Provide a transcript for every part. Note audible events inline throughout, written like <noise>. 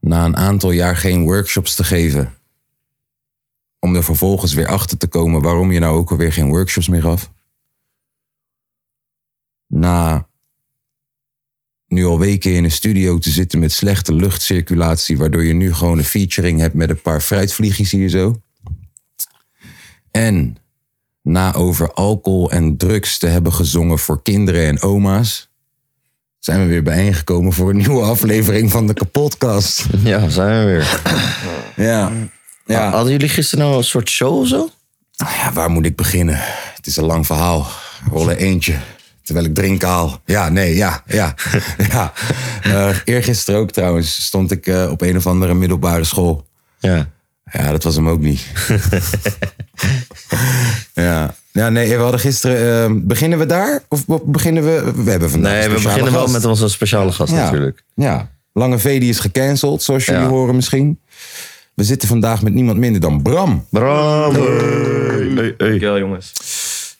Na een aantal jaar geen workshops te geven. Om er vervolgens weer achter te komen waarom je nou ook alweer geen workshops meer gaf. Na nu al weken in een studio te zitten met slechte luchtcirculatie, waardoor je nu gewoon een featuring hebt met een paar fruitvliegjes hier zo. En na over alcohol en drugs te hebben gezongen voor kinderen en oma's, zijn we weer bijeengekomen voor een nieuwe aflevering van de kapotkast. Ja, zijn we weer. Ja. Ja. Ah, Hadden jullie gisteren nou een soort show of zo? ja, waar moet ik beginnen? Het is een lang verhaal. Rollen eentje. Terwijl ik drink haal. Ja, nee, ja, ja. <laughs> ja. Eh eergisteren ook trouwens stond ik eh, op een of andere middelbare school. Ja. Ja, dat was hem ook <laughs> niet. ja. ja, nee, we hadden gisteren... eh, beginnen we daar? Of be- beginnen we... We hebben vandaag Nee, een we speciale beginnen wel gast. met onze speciale gast Ja. natuurlijk. Ja. Lange V die is gecanceld, zoals jullie Ja. horen misschien. We zitten vandaag met niemand minder dan Bram. Bram! Dankjewel, jongens.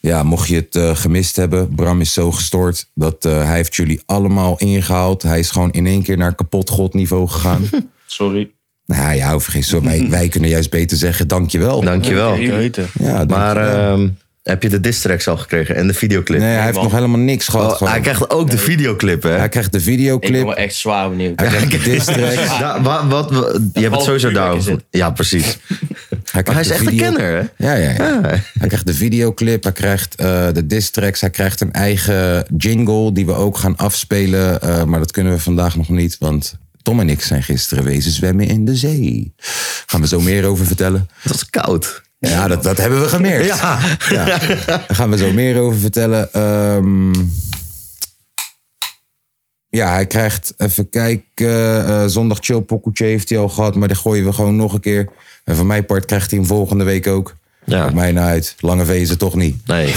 Ja, mocht je het eh, gemist hebben, Bram is zo gestoord dat eh, hij heeft jullie allemaal ingehaald. Hij is gewoon in één keer naar kapot godniveau <laughs> gegaan. Sorry. nou ja, vergis zo. Wij, wij kunnen juist beter zeggen dankjewel. Dankjewel. weten. ja, dank- Maar ehm, heb je de distracts al gekregen en de videoclip? nee, hij heeft nog helemaal niks gehad. Oh, gewoon. hij krijgt ook de videoclip, hè? hij krijgt de Ik ben wel videoclip, echt zwaar benieuwd. hij krijgt de distrack. Da- wa- wat, wa- je hebt het valt sowieso vuurwerk in down. zit. Ja, <laughs> precies. Hij krijgt Maar hij is de echt een video- kenner, hè? Ja, ja, ja. Hij krijgt de videoclip, hij krijgt eh, de distracks, hij krijgt een eigen jingle die we ook gaan afspelen. eh, maar dat kunnen we vandaag nog niet, want Tom en ik zijn gisteren wezen zwemmen in de zee. Gaan we zo meer over vertellen. Dat is koud. Ja, dat, dat hebben we gemerkt. Ja. Ja. Daar gaan we zo meer over vertellen. Ehm, ja, hij krijgt, even kijken, eh, zondag chill pokoetje heeft hij al gehad. Maar die gooien we gewoon nog een keer. En van mijn part krijgt hij hem volgende week ook. Ja. Maakt mij nou uit. Lange vezen toch niet. <laughs> Nee.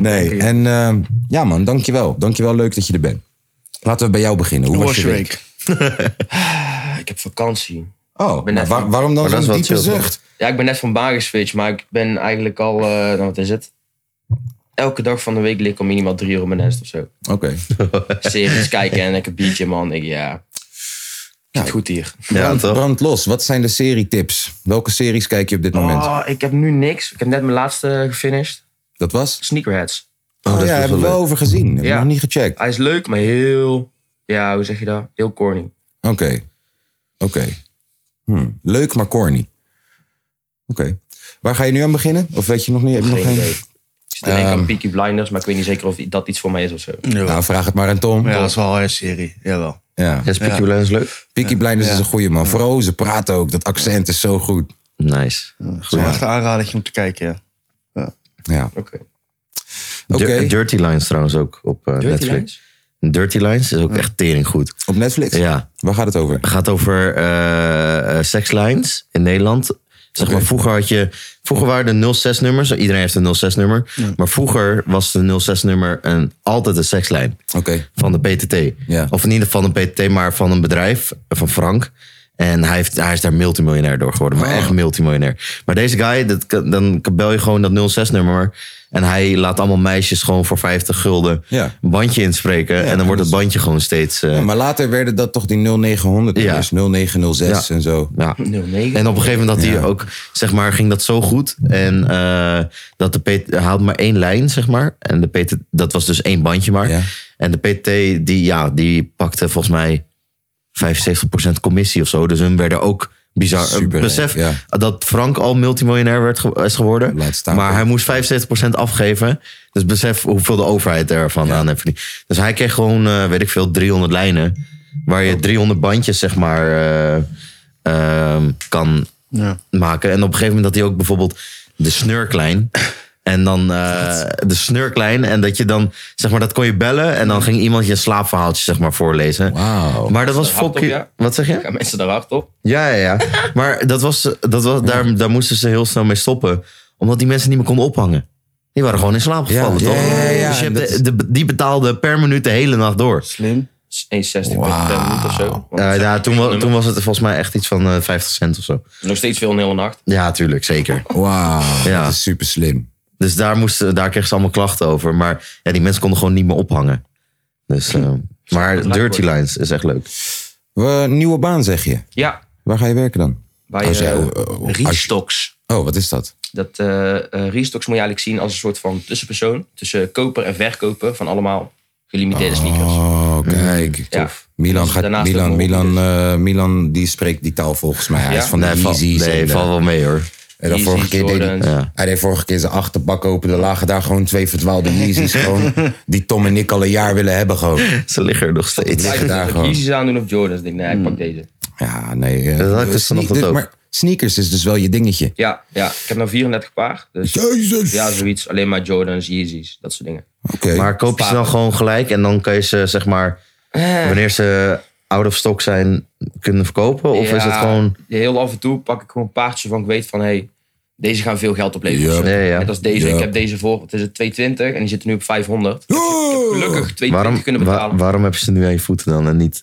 Nee. En ehm, ja man, dankjewel. Dankjewel, leuk dat je er bent. Laten we bij jou beginnen. Hoe was je week? Ik heb vakantie. Oh, ben maar net- waar- waarom dan Maar dat zo'n is wel diepe chill, toch? zucht? Ja, ik ben net van baan geswitcht, maar ik ben eigenlijk al, eh, nou, wat is het? Elke dag van de week lig ik al minimaal drie uur op mijn nest of <laughs> zo. Oké. Series kijken en lekker biertje, man. Ik, ja, het Nou, zit goed hier. Ja, Brand, toch? brand los. Wat zijn de serietips? Welke series kijk je op dit moment? Oh, ik heb nu niks. Ik heb net mijn laatste gefinished. Dat was? Sneakerheads. Oh, dat is ja, best hebben we wel wel leuk. over gezien. Hebben we Ja. nog niet gecheckt. Hij is leuk, maar heel, ja, hoe zeg je dat? Heel corny. Ah. Oké. Oké. Hm. Leuk, maar corny. Oké. Waar ga je nu aan beginnen? Of weet je nog niet? Heb je nog Ehm. Geen geen- idee. Ik zit te denken aan Peaky Blinders, maar ik weet niet zeker of dat iets voor mij is of zo. Nou, vraag het maar aan Tom. Ja, Ja. dat is wel een serie. Jawel. Ja, Speaky Blinders leuk? Peaky Blinders is een goeie man. Vooral ze praten ook. Dat accent is zo goed. Nice. Het is wel echt een aanradertje om te kijken, ja. Ja. Oké. Oké. Dir- Dirty Lines trouwens ook op eh, Netflix. Dirty Lines is ook echt tering goed. Op Netflix? Ja. Waar gaat het over? gaat over eh eh, sekslines in Nederland. Zeg maar, vroeger had je. Vroeger waren de 06-nummers. Iedereen heeft een 06-nummer. Maar vroeger was de 06-nummer een, altijd een sekslijn Oké. van de PTT. Ja. Of niet van de PTT, maar van een bedrijf, eh, van Frank. En hij, heeft, hij is daar multimiljonair door geworden. Oh. Maar echt multimiljonair. Maar deze guy, dat, kan- dan bel je gewoon dat 06-nummer. En hij laat allemaal meisjes gewoon voor 50 gulden Ja. een bandje inspreken. en dan wordt het bandje gewoon steeds... eh, Ja, maar later werden dat toch die 0900 Ja. nummers, 0906 Ja. en zo. ja. 09. En op een gegeven moment had hij ook, zeg maar, ging dat zo goed. En eh, dat de PT hij had maar één lijn, zeg maar. En de PT, dat was dus één bandje maar. Ja. En de PT, die, ja, die pakte volgens mij 75% commissie of zo. Dus hun werden ook bizar. Super, Besef ja. dat Frank al multimiljonair werd, ge- is geworden. Laat staan. maar hij moest 75% afgeven. Dus besef hoeveel de overheid ervan aan heeft verdiend. Dus hij kreeg gewoon, eh, weet ik veel, 300 lijnen. Waar je 300 bandjes, zeg maar, eh, ehm, kan Ja. maken. En op een gegeven moment had hij ook bijvoorbeeld de snurklijn. En dan eh, de snurklijn. En dat je dan, zeg maar, dat kon je bellen. En dan ging iemand je slaapverhaaltje, zeg maar, voorlezen. Wauw. Maar dat was Hard op, fucking... ja. Wat zeg je? Gaan mensen daar hard op? Ja, ja, ja. Maar dat was, dat was, daar, daar moesten ze heel snel mee stoppen. Omdat die mensen niet meer konden ophangen. Die waren gewoon in slaap Ja, gevallen, ja, toch? ja, ja, dus je en hebt dat de, de- die betaalde per minuut de hele nacht door. Slim. 1,60 per Wauw. minuut of zo. Want Eh, ja, toen, wa- nummer. toen was het volgens mij echt iets van eh, 50 cent of zo. Nog steeds veel een hele nacht. Ja, tuurlijk, zeker. Wauw. Ja. Dat is super slim. Dus daar, moesten, daar kregen ze allemaal klachten over. Maar ja, die mensen konden gewoon niet meer ophangen. Dus, eh, maar Dirty Lines is echt leuk. Eh, nieuwe baan zeg je. Ja, Waar ga je werken dan? bij Als jij, eh, eh, eh, als je- Restocks. oh, wat is dat? Dat eh eh, Restocks moet je eigenlijk zien als een soort van tussenpersoon. Tussen koper en verkoper van allemaal gelimiteerde sneakers. Oh, Mhm. kijk. Ja. Tof. Milan, Dus gaat, daarnaast Milan, ook nog Milan, eh, Milan die spreekt die taal volgens mij. Hij Ja? is van de nee, val- Yeezys. en nee, de- valt wel mee hoor. <laughs> en dan Yeezys, vorige keer deed hij, Jordans. Ja. hij deed vorige keer zijn achterbak open. Er lagen daar gewoon twee verdwaalde <laughs> Yeezys. gewoon, die Tom en ik al een jaar willen hebben gewoon. Ze liggen er nog steeds. Lijkt Eigenlijk daar moet ik gewoon. Yeezys aandoen of Jordans. Ik denk, nee, Hmm. ik pak deze. Ja, nee. eh, Dat had ik dus sne- vanochtend ook. Maar sneakers is dus wel je dingetje. Ja, ja, ik heb nou 34 paar. Dus Jezus! ja, zoiets. Alleen maar Jordans, Yeezys, dat soort dingen. Oké. Maar koop je ze dan gewoon gelijk en dan kan je ze, zeg maar, Eh. wanneer ze out of stock zijn, kunnen verkopen? Of is het Ja, gewoon. Heel af en toe pak ik gewoon een paardje van ik weet van... Hey, deze gaan veel geld opleveren. Ja. of zo. Ja, ja. Net als deze. Ja. Ik heb deze voor, het is het 220 en die zitten nu op 500. Oh! Gelukkig 220 Waarom, kunnen wa- betalen. waarom heb je ze nu aan je voeten dan en niet?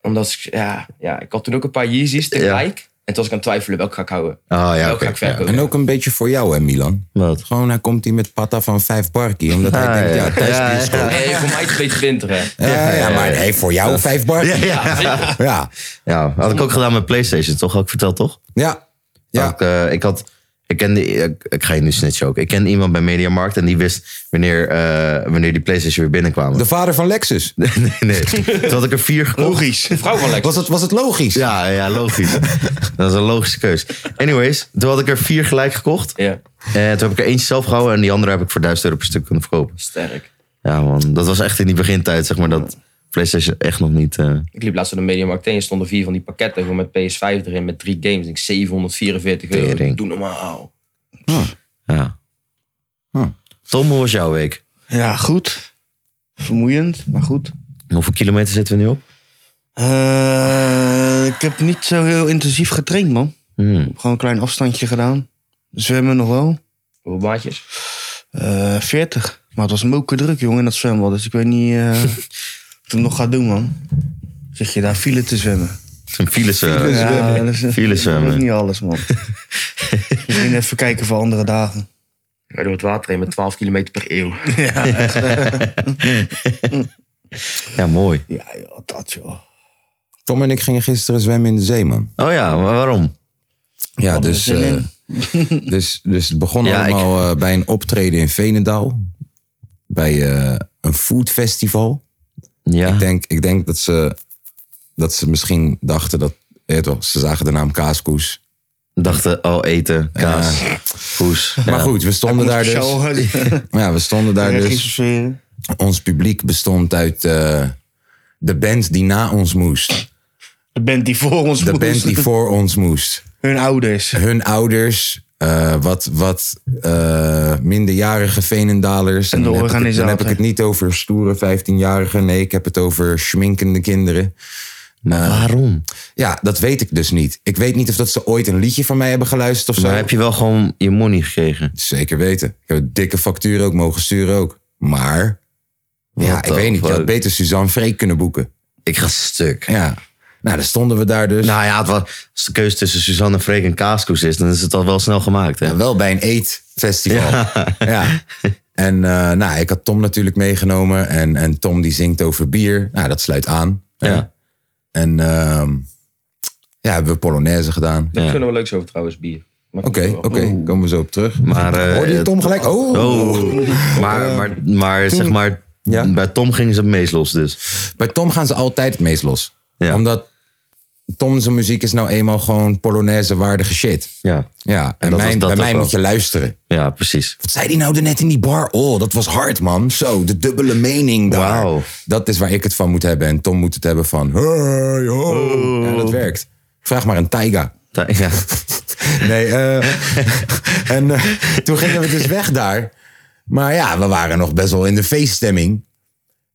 Omdat ik, ja, ja, ik had toen ook een paar Yeezys tegelijk. En toen was ik aan het twijfelen, welke ga ik houden? Ah ja, welke oké. ga ik verkopen? En ook een beetje voor jou, hè, Milan? Wat? Gewoon, hij komt hier met patta van vijf barkie. Omdat hij Ah, denkt, ja. ja, thuis Ja, die is ja. goed. Nee, voor mij 220 hè. Ja, ja, maar nee, voor jou vijf barkie. Ja, Ja, zeker. ja. Ja, had ik ook gedaan met PlayStation, toch? Had ik verteld, toch? ja. Ook, eh, ik had. Ik kende, ik, ik ga je nu snitchen ook. Ik ken iemand bij Mediamarkt en die wist wanneer, eh, wanneer die PlayStation weer binnenkwamen. De vader van Lexus. <laughs> nee, nee. Toen had ik er vier gekocht. Logisch. De vrouw van Lex. Was het, was het logisch? Ja, ja, logisch. <laughs> dat is een logische keus. Anyways, toen had ik er vier gelijk gekocht. Ja, En Eh, toen heb ik er eentje zelf gehouden en die andere heb ik voor 1000 euro per stuk kunnen verkopen. sterk. Ja, man, dat was echt in die begintijd, zeg maar, dat PlayStation echt nog niet. eh, Ik liep laatst op de Mediamarkt heen en stonden vier van die pakketten gewoon met PS5 erin met drie games. Ik denk 744 euro. Tering. Doe normaal. ja. Hm. Tom, hoe was jouw week? Ja, goed. Vermoeiend, maar goed. Hoeveel kilometer zitten we nu op? Eh, ik heb niet zo heel intensief getraind, man. Ik Hmm. heb gewoon een klein afstandje gedaan. Zwemmen nog wel. Hoeveel baantjes? Eh 40. Maar het was moken druk, jongen, in dat zwembad. Dus ik weet niet <laughs> eh wat ik het nog ga doen, man. Zeg je daar file te zwemmen? Zijn files. eh, Ja, dat is, File zwemmen. Dat is niet alles, <laughs> man. Misschien even kijken voor andere dagen. Ja, door het water heen met 12 km per eeuw. ja, mooi. Ja, joh, dat joh. Tom en ik gingen gisteren zwemmen in de zee, man. Oh ja, maar waarom? Ja, Hadden we dus, zin eh, in. <laughs> dus, dus het begon Ja, ik- allemaal eh, bij een optreden in Venendaal. Bij eh, een foodfestival. Ja. Ik denk, ik denk dat, ze, dat ze misschien dachten dat... ja, toch, ze zagen de naam Kaaskoes. Dachten, oh, eten, kaas, poes. <laughs> Maar goed, we stonden daar dus. <laughs> Zo, Ja, we stonden daar dus. regisseren. Ons publiek bestond uit eh, de band die na ons moest. De band die voor ons De moest. band die voor ons moest. <laughs> Hun ouders. Hun ouders, eh, wat, wat eh, minderjarige Venendalers. En de dan heb ik het- Dan heb organisator. ik het niet over stoere 15-jarigen. Nee, ik heb het over schminkende kinderen. Eh, Maar waarom? Ja, dat weet ik dus niet. Ik weet niet of dat ze ooit een liedje van mij hebben geluisterd of zo. Maar heb je wel gewoon je money gekregen? Zeker weten. Ik heb een dikke factuur ook mogen sturen ook. Maar, ja, Wat ik de weet niet. Je had fuck? beter Suzanne Freek kunnen boeken. Ik ga stuk. Ja. Nou, dan stonden we daar dus. Nou ja, het was, als de keuze tussen Suzanne Freek en Kaaskoes is, dan is het al wel snel gemaakt. Hè? Ja, wel bij een eetfestival. Ja. En eh, nou, ik had Tom natuurlijk meegenomen. En, en Tom die zingt over bier. Nou, dat sluit aan. Ja. En ehm, ja, hebben we Polonaise gedaan. Daar Ja. kunnen we leuks over trouwens, bier. Maar Oké, oké. Komen we zo op terug. Maar, eh, Hoorde je Tom gelijk? Oh. Oh, maar, maar, maar zeg maar, Hm. Ja. bij Tom gingen ze het meest los dus. Bij Tom gaan ze altijd het meest los. Ja. Omdat Tom zijn muziek is nou eenmaal gewoon Polonaise waardige shit. Ja, Ja, en dat was mijn, dat bij ook mij wel. moet je luisteren. ja precies. Wat zei die nou daarnet in die bar? Oh, dat was hard, man. Zo, de dubbele mening daar. Wauw. Dat is waar ik Oh. het van moet hebben. En Tom moet het hebben van... Hey, ho. Ja, dat werkt. Vraag maar een Taiga. Ta- Ja. Nee, eh, <laughs> en eh, toen gingen we dus weg daar. Maar ja, we waren nog best wel in de feeststemming.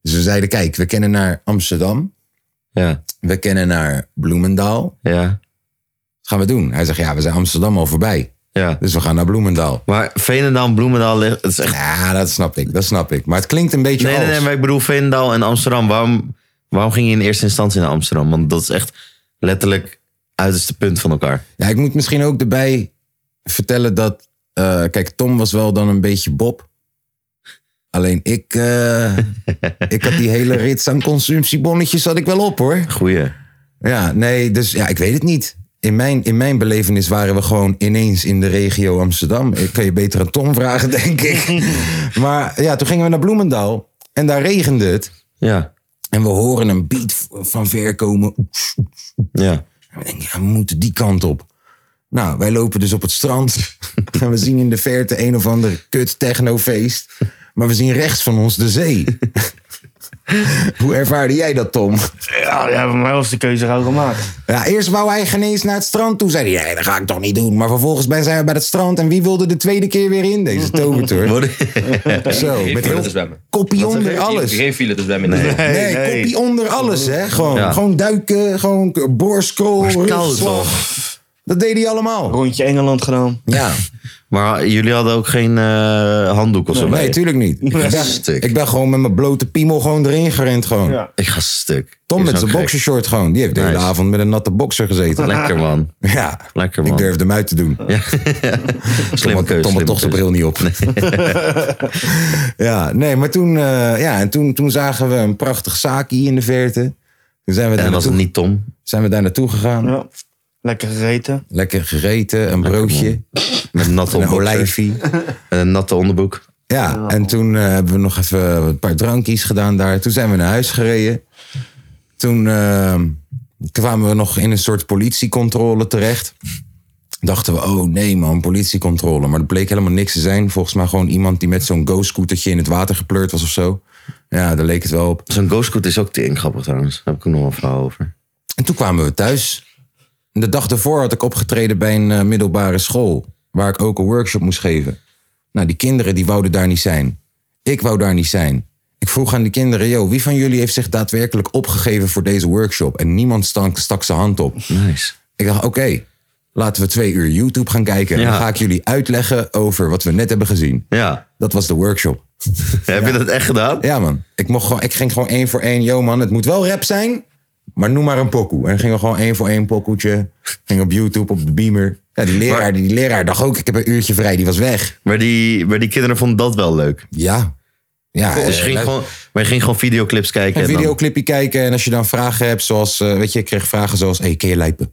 Dus we zeiden, kijk, we kennen naar Amsterdam. Ja. We kennen naar Bloemendaal. Wat Ja. gaan we doen? Hij zegt, ja, we zijn Amsterdam al voorbij. Ja. Dus we gaan naar Bloemendaal. Maar Veenendaal en Bloemendaal ligt... Het is echt... Ja, dat snap ik, dat snap ik. Maar het klinkt een beetje Nee, nee, als... nee, maar ik bedoel Veenendaal en Amsterdam. Waarom, waarom ging je in eerste instantie naar Amsterdam? Want dat is echt letterlijk uiterste punt van elkaar. Ja, ik moet misschien ook erbij vertellen dat... eh, kijk, Tom was wel dan een beetje Bob. Alleen ik, eh, ik had die hele rits aan consumptiebonnetjes had ik wel op, hoor. Goeie. Ja, nee, dus ja, ik weet het niet. In mijn, in mijn belevenis waren we gewoon ineens in de regio Amsterdam. Ik kan je beter aan Tom vragen, denk ik. maar ja, toen gingen we naar Bloemendaal en daar regende het. Ja. En we horen een beat van ver komen. Ja. En we denken, ja, we moeten die kant op. Nou, wij lopen dus op het strand. en we zien in de verte een of andere kut technofeest. Maar we zien rechts van ons de zee. Hoe ervaarde jij dat, Tom? Ja, ja, voor mij was de keuze gauw gemaakt. Ja, eerst wou hij geen eens naar het strand toe. Zei hij, nee, dat ga ik toch niet doen. Maar vervolgens ben- zijn we bij het strand. En wie wilde de tweede keer weer in deze tovertour? <laughs> Zo, Geen oh, met file heel te zwemmen. koppie Dat is onder geen- alles. Geen file te zwemmen. Nee. Nee, nee. koppie onder alles, hè. Gewoon, Ja. gewoon duiken, gewoon k- boorskool, het is koud, rugslag. Dat deed hij allemaal. Rondje Engeland gedaan. Ja, Maar jullie hadden ook geen eh, handdoek of zo nee, bij? tuurlijk niet. Ik ben, stuk. ik ben gewoon met mijn blote piemel gewoon erin gerend. Gewoon. Ja. Ik ga stuk. Tom Is met nou zijn gek. boxershort gewoon. Die heeft de hele Nice. avond met een natte boxer gezeten. Lekker man. Ja, Lekker ik man. durfde hem uit te doen. Tom Slimme had, keuze. Tom had slimme toch zijn keuze. bril niet op. <laughs> ja, nee, maar toen, eh, ja, en toen, toen zagen we een prachtig zaakje in de verte. Toen zijn we, daar En was naartoe, het niet Tom? zijn we daar naartoe gegaan. Ja. Lekker gegeten. Lekker gegeten, een broodje, Met natte <laughs> een onderbroek. olijfie. En een natte onderbroek. Ja, en toen eh, hebben we nog even een paar drankjes gedaan daar. Toen zijn we naar huis gereden. Toen eh, kwamen we nog in een soort politiecontrole terecht. Dachten we, oh nee man, politiecontrole. Maar dat bleek helemaal niks te zijn. Volgens mij gewoon iemand die met zo'n go-scootertje in het water gepleurd was of zo. Ja, daar leek het wel op. Zo'n ghostcoot is ook te grappig trouwens. Daar heb ik ook nog wel een verhaal over. En toen kwamen we thuis. En De dag daarvoor had ik opgetreden bij een eh, middelbare school. Waar ik ook een workshop moest geven. Nou, die kinderen die wouden daar niet zijn. Ik wou daar niet zijn. Ik vroeg aan die kinderen, yo, wie van jullie heeft zich daadwerkelijk opgegeven voor deze workshop? En niemand stank, stak zijn hand op. Nice. Ik dacht, oké, laten we twee uur YouTube gaan kijken. En Ja. dan ga ik jullie uitleggen over wat we net hebben gezien. Ja. Dat was de workshop. Heb je dat echt gedaan? Ja, man. Ik, mocht gewoon, ik ging gewoon één voor één. Yo, man, het moet wel rap zijn, maar noem maar een pokoe. En dan gingen we gewoon één voor één pokoetje. Ging op YouTube, op de Beamer. Ja, die leraar, Maar- die, leraar dacht ook, ik heb een uurtje vrij. Die was weg. Maar die, maar die kinderen vonden dat wel leuk. Ja. Ja, eh, Dus je ging luid- gewoon, maar je ging gewoon videoclips kijken. een en dan- videoclipje kijken. En als je dan vragen hebt, zoals, eh, weet je, ik kreeg vragen zoals, hey, ken je Lijpen?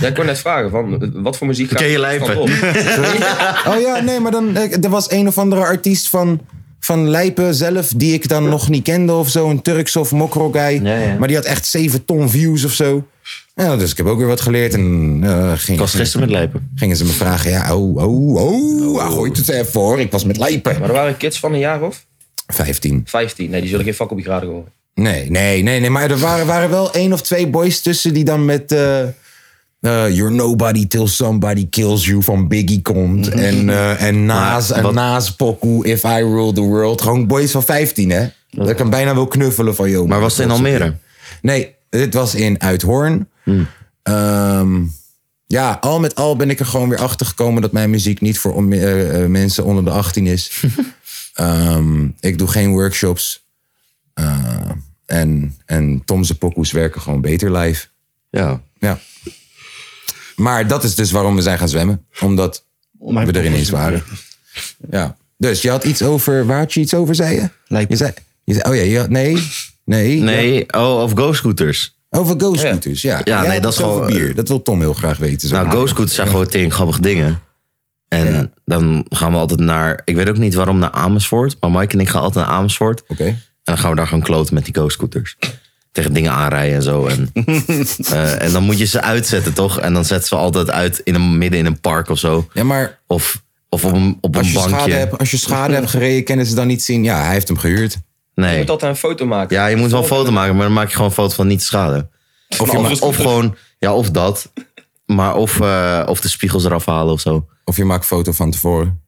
Ja, ik kon net vragen, van, eh, wat voor muziek Ken je lijpen? Oh ja, nee, maar dan, eh, er was een of andere artiest van, van Lijpen zelf, die ik dan nog niet kende of zo. Een Turks of Mokro guy. Ja, ja. Maar die had echt 7 ton views of zo. Ja, dus ik heb ook weer wat geleerd. En eh, ging, Ik was gisteren met Lijpen. gingen ze me vragen, ja, oh, oh, oh, ah, gooi het even voor. Ik was met Lijpen. <laughs> Maar er waren kids van een jaar of 15. 15. Nee, die zullen geen vak op je graden horen. Nee, nee, nee, nee. Maar er waren, waren wel één of twee boys tussen die dan met... eh, eh, You're nobody till somebody kills you van Biggie komt. En, eh en Naas, en wat- Naas pokoe, If I Rule the World. Gewoon boys van 15, hè? Dat ik hem bijna wil knuffelen van, joh. Maar was het in Almere? Hmm. Nee, dit was in Uithoorn. Ehm, ja, al met al ben ik er gewoon weer achter gekomen dat mijn muziek niet voor onmi- eh, eh, mensen onder de 18 <laughs> is. Ehm, ik doe geen workshops. Eh, en, en Tom's pokoes werken gewoon beter live. Ja. Ja. Maar dat is dus waarom we zijn gaan zwemmen. Omdat mijn we er ineens waren. Ja. Dus je had iets over, waar had je iets over, zei je? Lijkt me. Je zei, je zei- oh ja, je had, nee, nee. Nee, oh, of ghostscooters. Over go-scooters, ja. Ja, Jij nee, had dat is het over gewoon- bier. Dat wil Tom heel graag weten. zo. Nou, ghostscooters zijn gewoon tegen grappige dingen. En dan gaan we altijd naar, ik weet ook niet waarom, naar Amersfoort. Maar Mike en ik gaan altijd naar Amersfoort. Oké. En dan gaan we daar gewoon kloten met die go-scooters. Tegen dingen aanrijden en <laughs> zo. En, eh, en dan moet je ze uitzetten, toch? En dan zetten ze altijd uit in een, midden in een park of zo. Ja, maar Of, of op een, op als een je, bankje. schade hebt, als je schade hebt gereden, kunnen ze dan niet zien. Ja, hij heeft hem gehuurd. Je Nee. moet altijd een foto maken. Ja, je moet wel een foto maken, maar dan maak je gewoon een foto van niet te schade. Of, je ma- of gewoon, ja, of dat. Maar of, eh, of de spiegels eraf halen of zo. Of je maakt foto van tevoren.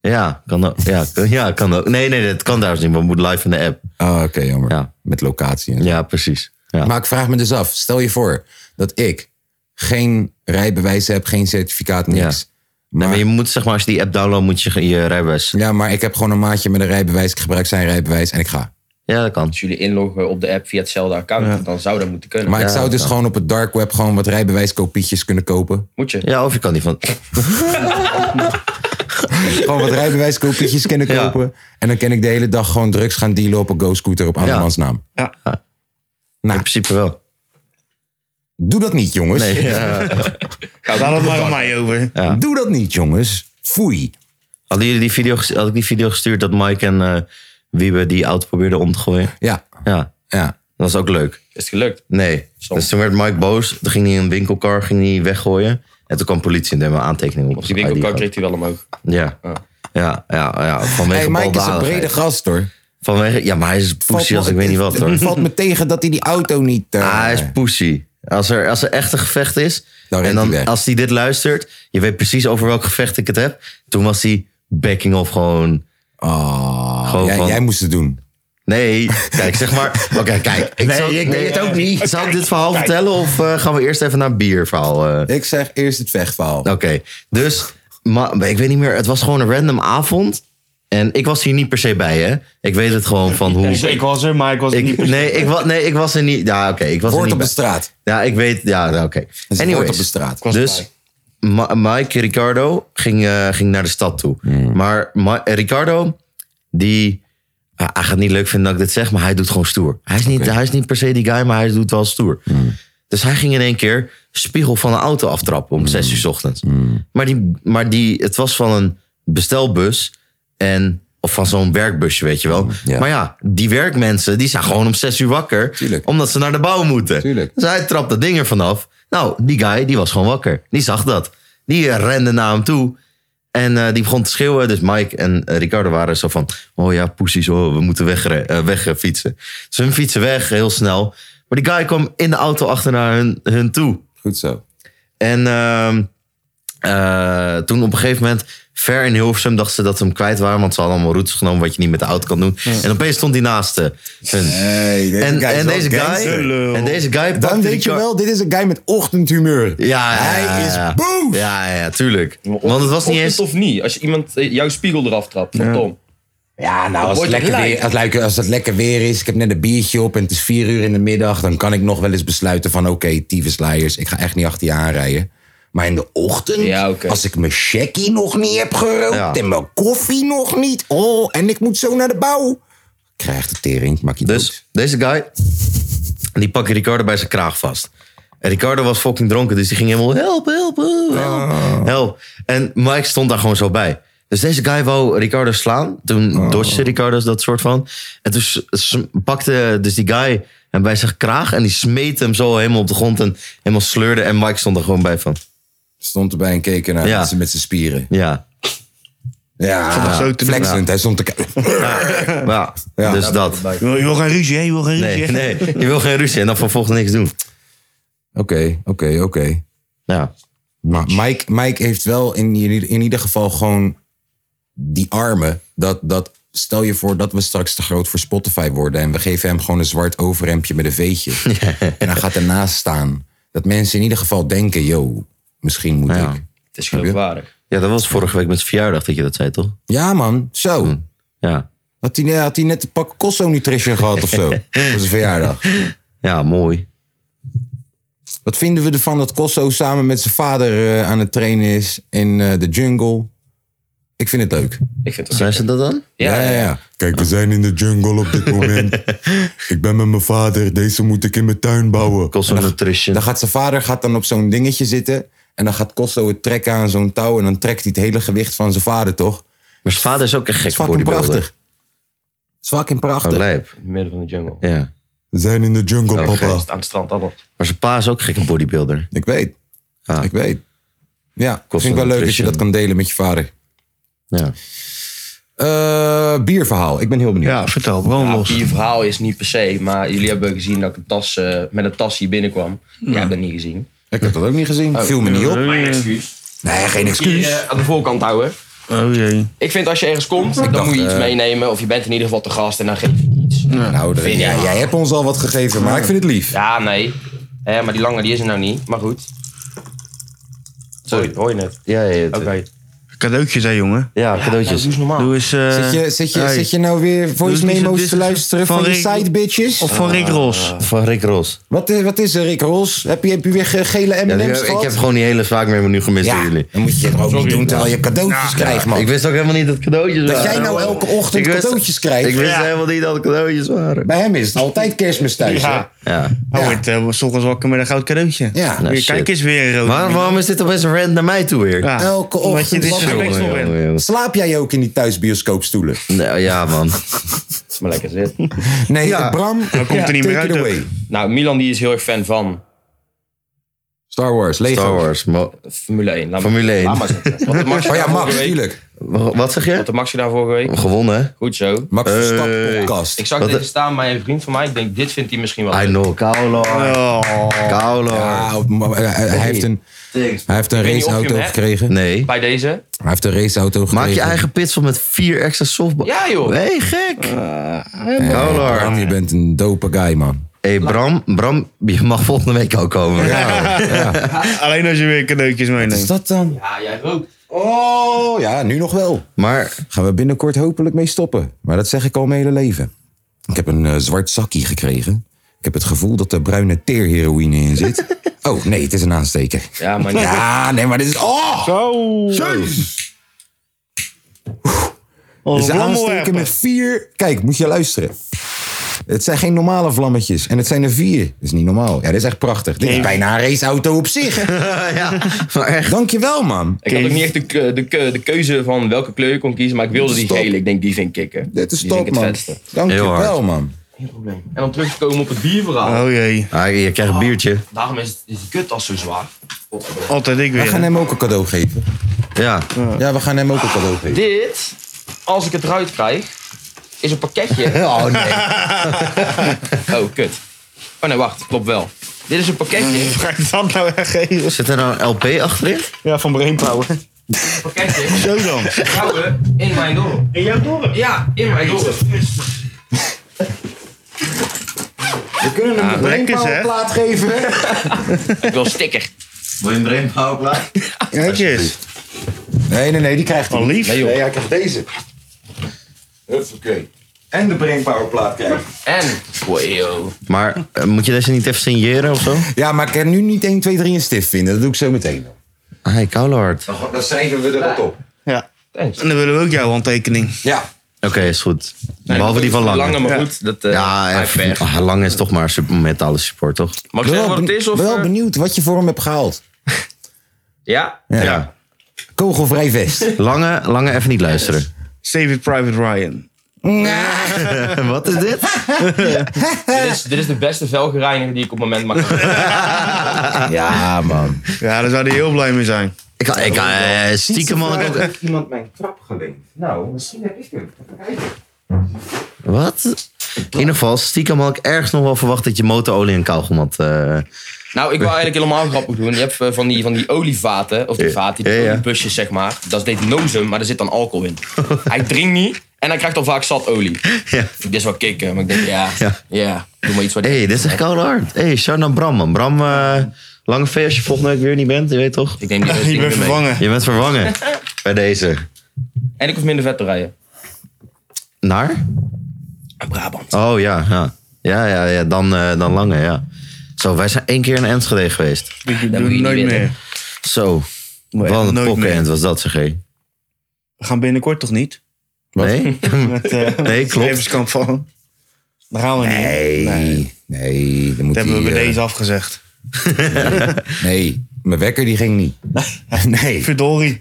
Ja, kan ook. Ja, ja, kan ook. Nee, nee, dat kan trouwens niet. want het moet live in de app. Ah, oké, jammer. Ja. Met locatie. en zo. Ja, precies. Ja. Maar ik vraag me dus af. Stel je voor dat ik geen rijbewijs heb, geen certificaat, niks. Nee, Maar, maar je moet, zeg maar, als je die app downloadt, moet je je rijbewijs. Ja, maar ik heb gewoon een maatje met een rijbewijs. Ik gebruik zijn rijbewijs en ik ga. Ja, dat kan. Als jullie inloggen op de app via hetzelfde account, dan zou dat moeten kunnen. Maar ik Ja, zou dus gewoon op het dark web gewoon wat rijbewijskopietjes kunnen kopen. Moet je? Ja, of je kan die van. Gewoon wat rijbewijskopietjes kunnen Ja. kopen. En dan kan ik de hele dag gewoon drugs gaan dealen op een go-scooter op andermans naam. Ja. Nou, In Ah. principe wel. doe dat niet, jongens. Nee, ja. Laat het maar aan mij over. Doe dat niet, jongens. Foei. Hadden jullie die video, ges- had ik die video gestuurd dat Mike en eh Wiebe die auto probeerden om te gooien? Ja, Ja, ja. dat was ook leuk. Is het gelukt? Nee. Soms. Dus toen werd Mike boos. Toen ging hij een winkelkar ging hij weggooien. En toen kwam politie en deed hem een aantekening op. Op die zijn winkelkar ID. kreeg hij wel omhoog. Ja. Ja. Ja, ja, ja. Vanwege Hey, Mike is een baldadigheid. brede gast, hoor. Vanwege, ja, maar hij is poesie als ik weet niet wat Het <laughs> hoor. valt me tegen dat hij die auto niet... eh, Ah, hij is poesie. Als er, als er echt een gevecht is. Dan rent en hij dan weg. als hij dit luistert. Je weet precies over welk gevecht ik het heb. Toen was hij backing off gewoon. Ah, Gewoon jij, van- jij moest het doen. Nee, kijk, zeg <laughs> maar. Oké, kijk. Ik nee, ik deed het ook niet. Zal ik dit verhaal vertellen of eh, gaan we eerst even naar een bierverhaal? eh? Ik zeg eerst het vechtverhaal. Oké, dus maar, ik weet niet meer. Het was gewoon een random avond. En ik was hier niet per se bij, hè? Ik weet het gewoon van hoe. Dus ik was er, maar ik was er Ik, niet. nee, ik wa, nee, ik was er niet. Ja, oké, ik was er Hoort niet op de bij. straat. Ja, ik weet. Ja, nou, oké. Het is woord op de Anyways, straat. dus Ma- Mike Ricardo ging, eh, ging naar de stad toe. Hmm. Maar Ma- eh, Ricardo, die. ah, hij gaat niet leuk vinden dat ik dit zeg, maar hij doet gewoon stoer. Hij is niet, hij is niet per se die guy, maar hij doet wel stoer. Hmm. Dus hij ging in één keer spiegel van een auto aftrappen om Hmm. zes uur 's ochtends. Maar, die, maar die, het was van een bestelbus en. Of van zo'n werkbusje, weet je wel. Hmm, ja. Maar ja, die werkmensen die zijn gewoon om zes uur wakker. Tuurlijk. Omdat ze naar de bouw moeten. Tuurlijk. Dus hij trapt dat ding er vanaf. Nou, die guy die was gewoon wakker. Die zag dat. Die eh, rende naar hem toe. En eh, die begon te schreeuwen. Dus Mike en eh, Ricardo waren zo van... Oh ja, poesies, oh, we moeten wegre- eh, wegfietsen. dus hun fietsen weg, heel snel. Maar die guy kwam in de auto achter naar hun, hun toe. Goed zo. En ehm, eh, toen op een gegeven moment, ver in Hilversum, dachten ze dat ze hem kwijt waren. Want ze hadden allemaal routes genomen wat je niet met de auto kan doen. En opeens stond hij naast eh, hun. Hey, deze En, guy is en, wel deze gangster. guy, en deze guy pakte Dan die weet je car- wel, dit is een guy met ochtendhumeur. Ja, ja, Hij ja, is ja. boos. Ja, ja, ja, tuurlijk. Want het was niet eens... Of niet, als je iemand eh, jouw spiegel eraf trapt van Tom. Ja, nou, als het, Wordt lekker gelijk. weer, als, het lekker- als het lekker weer is, ik heb net een biertje op en het is vier uur in de middag, dan kan ik nog wel eens besluiten van, oké, tyfusleiers, ik ga echt niet achter je aanrijden. Maar in de ochtend, Ja, oké. als ik mijn checkie nog niet heb gerookt Ja. en mijn koffie nog niet, oh, en ik moet zo naar de bouw. Krijg de tering, maak je dood. Dus deze guy, die pakte Ricardo bij zijn kraag vast. En Ricardo was fucking dronken, dus die ging helemaal help, help, help, Ah. help, help. En Mike stond daar gewoon zo bij. Dus deze guy wou Ricardo slaan. Toen Ah. dodgede Ricardo dat soort van. En toen s- s- pakte dus die guy hem bij zijn kraag. En die smeet hem zo helemaal op de grond en helemaal sleurde. En Mike stond er gewoon bij van. Stond erbij en keek ernaar Ja. met z'n- met zijn spieren. <laughs> Ja, Ja, zo te doen. flexend. Hij stond te kijken. ja. Ja. dus dat. Je wil, je wil geen ruzie, hè? Je wil geen ruzie. <laughs> Nee, hè? nee, je wil geen ruzie en dan vervolgens niks doen. Oké, oké, oké. Ja, Maar Mike, Mike heeft wel in, ieder- in ieder geval gewoon die armen. Dat, dat, stel je voor dat we straks te groot voor Spotify worden. En we geven hem gewoon een zwart overhemdje met een veetje. En hij gaat ernaast staan. Dat mensen in ieder geval denken, yo, misschien moet Ja. ik. Het is geloofwaardig. ja dat was vorige week met zijn verjaardag dat je dat zei, toch? Ja man, zo. Ja, Had hij, had hij net een pak Cosso Nutrition gehad of zo. Voor zijn verjaardag. ja mooi. Wat vinden we ervan dat Cosso samen met zijn vader eh, aan het trainen is in eh, de jungle? Ik vind het leuk. Ik vind het wel Zijn ze dat dan? Ja, ja, ja. Kijk, we zijn in de jungle op dit <laughs> moment. ik ben met mijn vader. Deze moet ik in mijn tuin bouwen. Cost of Nutrition. Dan gaat zijn vader gaat dan op zo'n dingetje zitten. En dan gaat Costo het trekken aan zo'n touw. En dan trekt hij het hele gewicht van zijn vader, toch? Het maar zijn vader is ook een gek Oh, is fucking prachtig. Het is fucking prachtig. lijp. in het midden van de jungle. Ja. We zijn in de jungle, Oh, papa. Aan het strand allemaal. Maar zijn pa is ook een gekke bodybuilder. Ik weet. Ah. Ik weet. Ja, Costo vind ik wel leuk dat je Nutrition. dat kan delen met je vader. Ja. Eh, bierverhaal. Ik ben heel benieuwd. Ja, vertel, brand Ja, los. je verhaal is niet per se, maar jullie hebben gezien dat ik een tas, eh, met een tas hier binnenkwam. Jij hebt dat niet gezien. Ik heb dat ook niet gezien. Viel me niet op. Geen excuus. Nee, geen Hier, excuus. eh, aan de voorkant houden. Oh jee. Ik vind als je ergens komt, dan dacht, moet je iets eh, meenemen. Of je bent in ieder geval te gast en dan geef je iets. Nou, dat- Vind ja, ik. jij hebt ons al wat gegeven, maar ik vind het lief. Ja, nee. Hè, maar die lange die is er nou niet. Maar goed. Sorry, hoor je het? Ja, ja, Oké. Cadeautjes, hè, jongen. ja cadeautjes. Doe eens normaal. Doe eens... eh, Zit je, zit, je, hey. zit je nou weer voice Doe eens- memo's dit is- te luisteren van, van je Rick- side bitches? Ah. Of van Rick Ross. Van Rick Ross. Wat, is- wat is er, Rick Rols? Heb je, heb je weer ge- gele Ja, M&M's die- ik gehad? heb gewoon die hele vaak meer menu gemist door ja, jullie. dan moet je het ook niet doen terwijl je cadeautjes krijgt, man. Ik wist ook helemaal niet dat cadeautjes dat waren. jij nou elke ochtend Ik wist- cadeautjes krijgt. Ik wist helemaal niet dat cadeautjes waren. Bij hem is het altijd kerstmis thuis, hè? Ja. Ja. Hij wordt eh, 's ochtends wakker met een goud cadeautje. Ja. Nou, Weer, shit. kijk eens weer, Roos. Waar- waarom is dit opeens een rant naar mij toe weer? Ja. Elke Omdat ochtend je dit wakker gesprek Jongen, nog in. jongen, jongen. Slaap jij ook in die thuisbioscoopstoelen? Nou, ja, <laughs> man. Maar lekker zit. Nee, eh, Ja. Bram, komt er niet take meer it uit, away. Nou, Milan die is heel erg fan van Star Wars, Lego. Star Wars. mo- Formule 1. Laat Formule 1. Laat maar zitten. Wat de Max, Oh ja, vorige Max, week- natuurlijk. Wa- Wat zeg Wat je? de Maxi daar vorige week. Gewonnen, hè? Goed zo. Max Hey. Verstappen podcast. Ik zag Wat dit de- staan bij een vriend van mij. Ik denk, dit vindt hij misschien wel I leuk. know. Kaulo. Oh. Kaulo. Ja, op- maar, eh, hij heeft een, hij heeft een weet niet of je hem raceauto hebt. gekregen. Nee. Bij deze. Hij heeft een raceauto gekregen. Maak je eigen pitsel met vier extra softballs. Ja, joh. Eh, Hey, gek. Bram, Eh, Kaulo. je bent een dope guy, man. Hey, Bram, Bram, je mag volgende week ook komen. Oh. Alleen als je weer cadeautjes Wat is meeneemt. dat dan? Ja, Ah, jij rookt. Oh, ja, nu nog wel. Maar Gaan we binnenkort hopelijk mee stoppen. Maar dat zeg ik al mijn hele leven. Ik heb een eh, zwart zakkie gekregen. Ik heb het gevoel dat er bruine teerheroïne in <laughs> zit. Oh, nee, het is een aansteker. Ja, maar niet. Ja, nee, maar dit is... Oh! Als Ze aansteken met vier. Kijk, moet je luisteren. Het zijn geen normale vlammetjes. En het zijn er vier. Dat is niet normaal. Ja, dit is echt prachtig. Dit is bijna een raceauto op <laughs> zich. ja, <laughs> maar echt. Dankjewel, man. Ik had ook niet echt de, ke- de, ke- de keuze van welke kleur ik kon kiezen, maar ik wilde die Stop. gele. Ik denk, die vind ik kicken. Dit is die vind top, ik het man. vetste. Heel Dankjewel, hard. man. Geen probleem. En om terug te komen op het bierverhaal. Oh jee. Ah, je krijgt Oh. een biertje. Daarom is, is die kut als zo zwaar. Altijd ik We gaan weer. hem ook een cadeau geven. Ja. Ja, we gaan hem ook een cadeau geven. Dit, als ik het eruit krijg, is een <laughs> pakketje. Oh, nee. Oh, kut. Oh nee, wacht. Klopt wel. Dit is een pakketje. <laughs> Ga ik dat nou weggeven? Zit er nou een LP achterin? Ja, van Brainpower. Een pakketje. Zo dan. Vrouwen in mijn dorp. En jouw dorp? Ja, in mijn dorp. We kunnen hem lekker, zeg. een plaat geven. Ik wil een sticker. Wil je een brainpower klaar? Netjes. Nee, nee, nee, die krijgt hij. Van lief. Oh, Nee, hij krijgt deze. Huppakee. En de Brainpower plaat krijgt. En. Wow. Maar eh, moet je deze niet even signeren of zo? Ja, maar ik kan nu niet 1, 2, 3 een stift vinden. Dat doe ik zo meteen. Hey, Koulohard. Oké, Oh, Dan schrijven we er wat op. Ja. Thanks. En dan willen we ook jouw handtekening. Ja. is goed. Behalve die van Lange. Lange, maar goed. Dat, eh, ja, hij eh, weg. ah, Lange is toch maar super metalen support, toch? Mag ik Ik ben zeggen wel, wat het ben- is? Of, wel eh, benieuwd wat je voor hem hebt gehaald. ja. Ja. Ja. Kogelvrij vest. Lange, Lange even niet luisteren. Save it Private Ryan. <laughs> Wat is <laughs> dit? Dit is, dit is de beste velgereiniger die ik op het moment mag ja, man. Ja, daar zou hij heel blij mee zijn. Ik, ik, eh, stiekem had ik ook... iemand mijn trap geleend. Nou, misschien heb ik hem. Wat? In ieder geval, stiekem had ik ergens nog wel verwacht dat je motorolie en kauwgom had. eh. <laughs> Nou, ik wil eigenlijk helemaal grappig doen. Je hebt eh, van die, van die olievaten, of die Ja, vaten, die ja, ja. oliebusjes zeg maar. Dat is detonozum, maar er zit dan <laughs> alcohol in. Hij drinkt niet en hij krijgt al vaak zat olie. ja. Dit is wel kicken, maar ik denk, ja, Ja. ja. doe maar iets wat... hey, dit is echt Koulohard. Hé, hey, shout naar Bram, man. Bram, eh, Lange V, als je volgende week weer niet bent, je weet toch? Ik neem <laughs> die Je ding bent weer mee. vervangen. Je bent vervangen. Bij deze. En ik hoef minder vet te rijden. Naar? En Brabant. Oh ja, ja. Ja, ja, ja. Dan, eh, dan Lange, ja. Zo, wij zijn één keer in Enschede geweest. Ik Dat moet doe je het niet nooit willen. meer. Zo. Maar echt Wat een nooit pokkenend meer. was dat, zeg hé. We gaan binnenkort toch <laughs> niet? Nee? Met eh Nee, <laughs> klopt. levenskamp van. Daar gaan we niet. Nee. Nee, dan moet Dat hebben we die, bij eh, deze afgezegd. Nee, mijn wekker die ging <laughs> niet. Nee. Verdorie.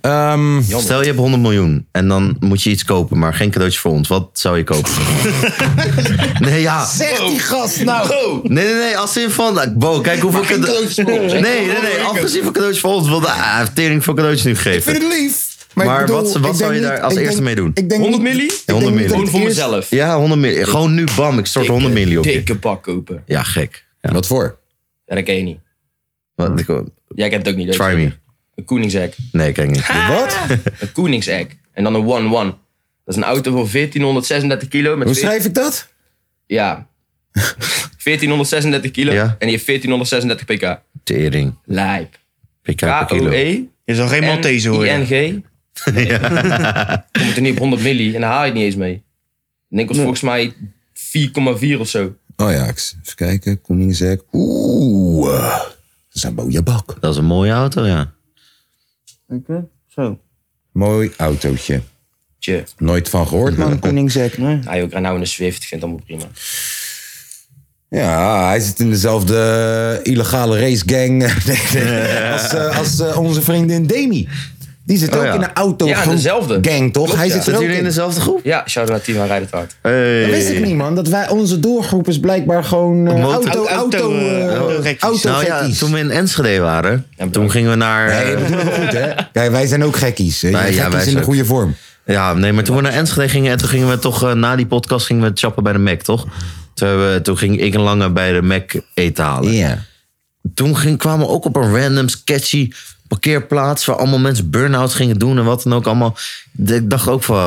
Ehm, Stel, je hebt 100 miljoen en dan moet je iets kopen, maar geen cadeautje voor ons. Wat zou je <laughs> kopen? nee, ja. Zeg die gast Oh. nou. Nee, nee, nee. Als in van... Bo, kijk hoeveel cadeautjes Nee, nee, nee. Afgezien van cadeautjes voor ons wilde ah, tering voor cadeautjes nu Ik gegeven. vind het lief. Maar ik bedoel, wat- wat ik denk zou je niet- daar als ik eerste denk- mee doen? Ik denk 100 niet- milli? ik denk niet dat 100 milli. Gewoon het voor eerst- mezelf. Ja, 100 miljoen. Gewoon nu, bam. Ik stort 100 miljoen op je. Dikke pak kopen. Ja, gek. Ja. Wat voor? Ja, dat ken je niet. Wat, ik- Jij kent het ook niet. try weet je. me. Een Koenigsegg. Nee, kijk niet. Wat? Een Koenigsegg. En dan een 1-1. Dat is een auto van 1436 kilo. Met Hoe 14 schrijf ik dat? Ja. 1436 kilo. Ja. En die heeft 1436 pk. <laughs> Tering. Lijp. E PK per kilo. K-O-E. Je zal geen Maltese horen. ING. Nee. Komt er niet op 100 milli. En daar haal je het niet eens mee. En ik was volgens mij 4,4 of zo. Oh ja, ik- even kijken. Koningszek. Oeh. eh, Zaboja bak. Dat is een mooie auto, ja. Zo. Mooi autootje. Tje. Nooit van gehoord, man. Koningszek. Hij ook nou in een Swift. Ik vind het allemaal prima. Ja, hij zit in dezelfde eh, illegale racegang <laughs> nee, nee, als, eh, als eh, onze vriendin Demi. Die zit ook ja. in een auto Ja, dezelfde. gang, toch? hij zit er ook Zitten jullie in. in dezelfde groep? Ja, shout-out naar Team aan Rijdt het Hard. Dat wist ik niet, man. Dat wij, onze doorgroep is blijkbaar gewoon eh, Motor- auto, auto, auto, eh, eh, autorekkies. auto Nou ja, gekkies. <laughs> toen we in Enschede waren, toen gingen we naar... Nee, eh, dat doen we goed, hè? Kijk, wij zijn ook gekkies. Wij, Wij- ja, wij gekkies in zijn de ook- goede vorm. Ja, nee, maar toen we naar Enschede gingen, en toen gingen we toch eh, na die podcast gingen we chappen bij de Mac, toch? Toen, hebben we- toen ging ik en Lange bij de Mac eten halen. Ja. Toen ging, kwamen we ook op een random sketchy parkeerplaats waar allemaal mensen burn-outs gingen doen en wat dan ook allemaal. De- Ik dacht ook van, eh,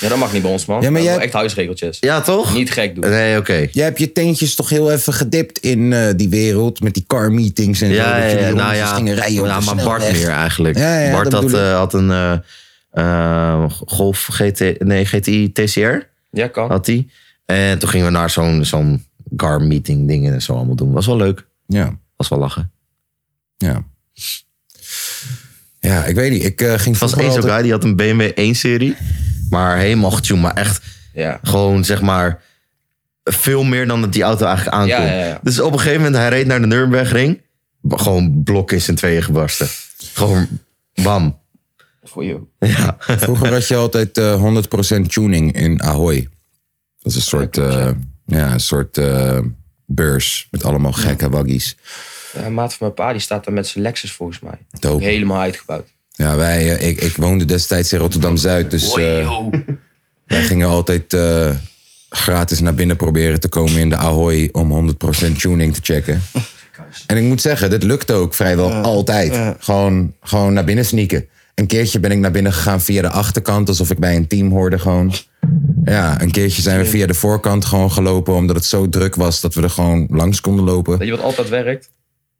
Ja, dat mag niet bij ons, man. Ja, Ja, maar maar jij- Echt huisregeltjes. ja toch? Niet gek doen. Nee, oké. Jij hebt je teentjes toch heel even gedipt in eh, die wereld met die car meetings en zo. Ja, dat ja, jullie nou rondjes ja. gingen rijden op Ja, de maar Bart snelweg. meer eigenlijk. Ja, ja, Bart dat had, bedoel ik. eh, had een eh, eh, Golf GT, nee, GTI TCR. Ja, kan. had hij. En toen gingen we naar zo'n zo'n car meeting dingen en zo allemaal doen. Was wel leuk. Ja, Was wel lachen. ja. Ja, ik weet niet. Ik eh, ging Het was vroeger één zo'n altijd- guy die had een BMW 1 serie. Maar helemaal getuned. Maar echt Ja. gewoon zeg maar veel meer dan dat die auto eigenlijk aankomt. Ja, ja, ja. Dus op een gegeven moment hij reed naar de Nürnbergring. Gewoon blok in zijn tweeën gebarsten. Gewoon bam. Voor jou. Ja. Vroeger had je altijd eh 100% tuning in Ahoy. Dat is een soort, eh, ja, een soort eh, beurs met allemaal gekke waggies. Ja, een maat van mijn pa, die staat daar met zijn Lexus volgens mij. Dope. Helemaal uitgebouwd. Ja, wij, eh, ik, ik woonde destijds in Rotterdam-Zuid, dus eh, wij gingen altijd eh, gratis naar binnen proberen te komen in de Ahoy om 100% tuning te checken. En ik moet zeggen, dit lukte ook vrijwel altijd. Gewoon, gewoon naar binnen sneaken. Een keertje ben ik naar binnen gegaan via de achterkant, alsof ik bij een team hoorde gewoon. Ja, een keertje zijn we via de voorkant gewoon gelopen, omdat het zo druk was dat we er gewoon langs konden lopen. Weet je wat altijd werkt?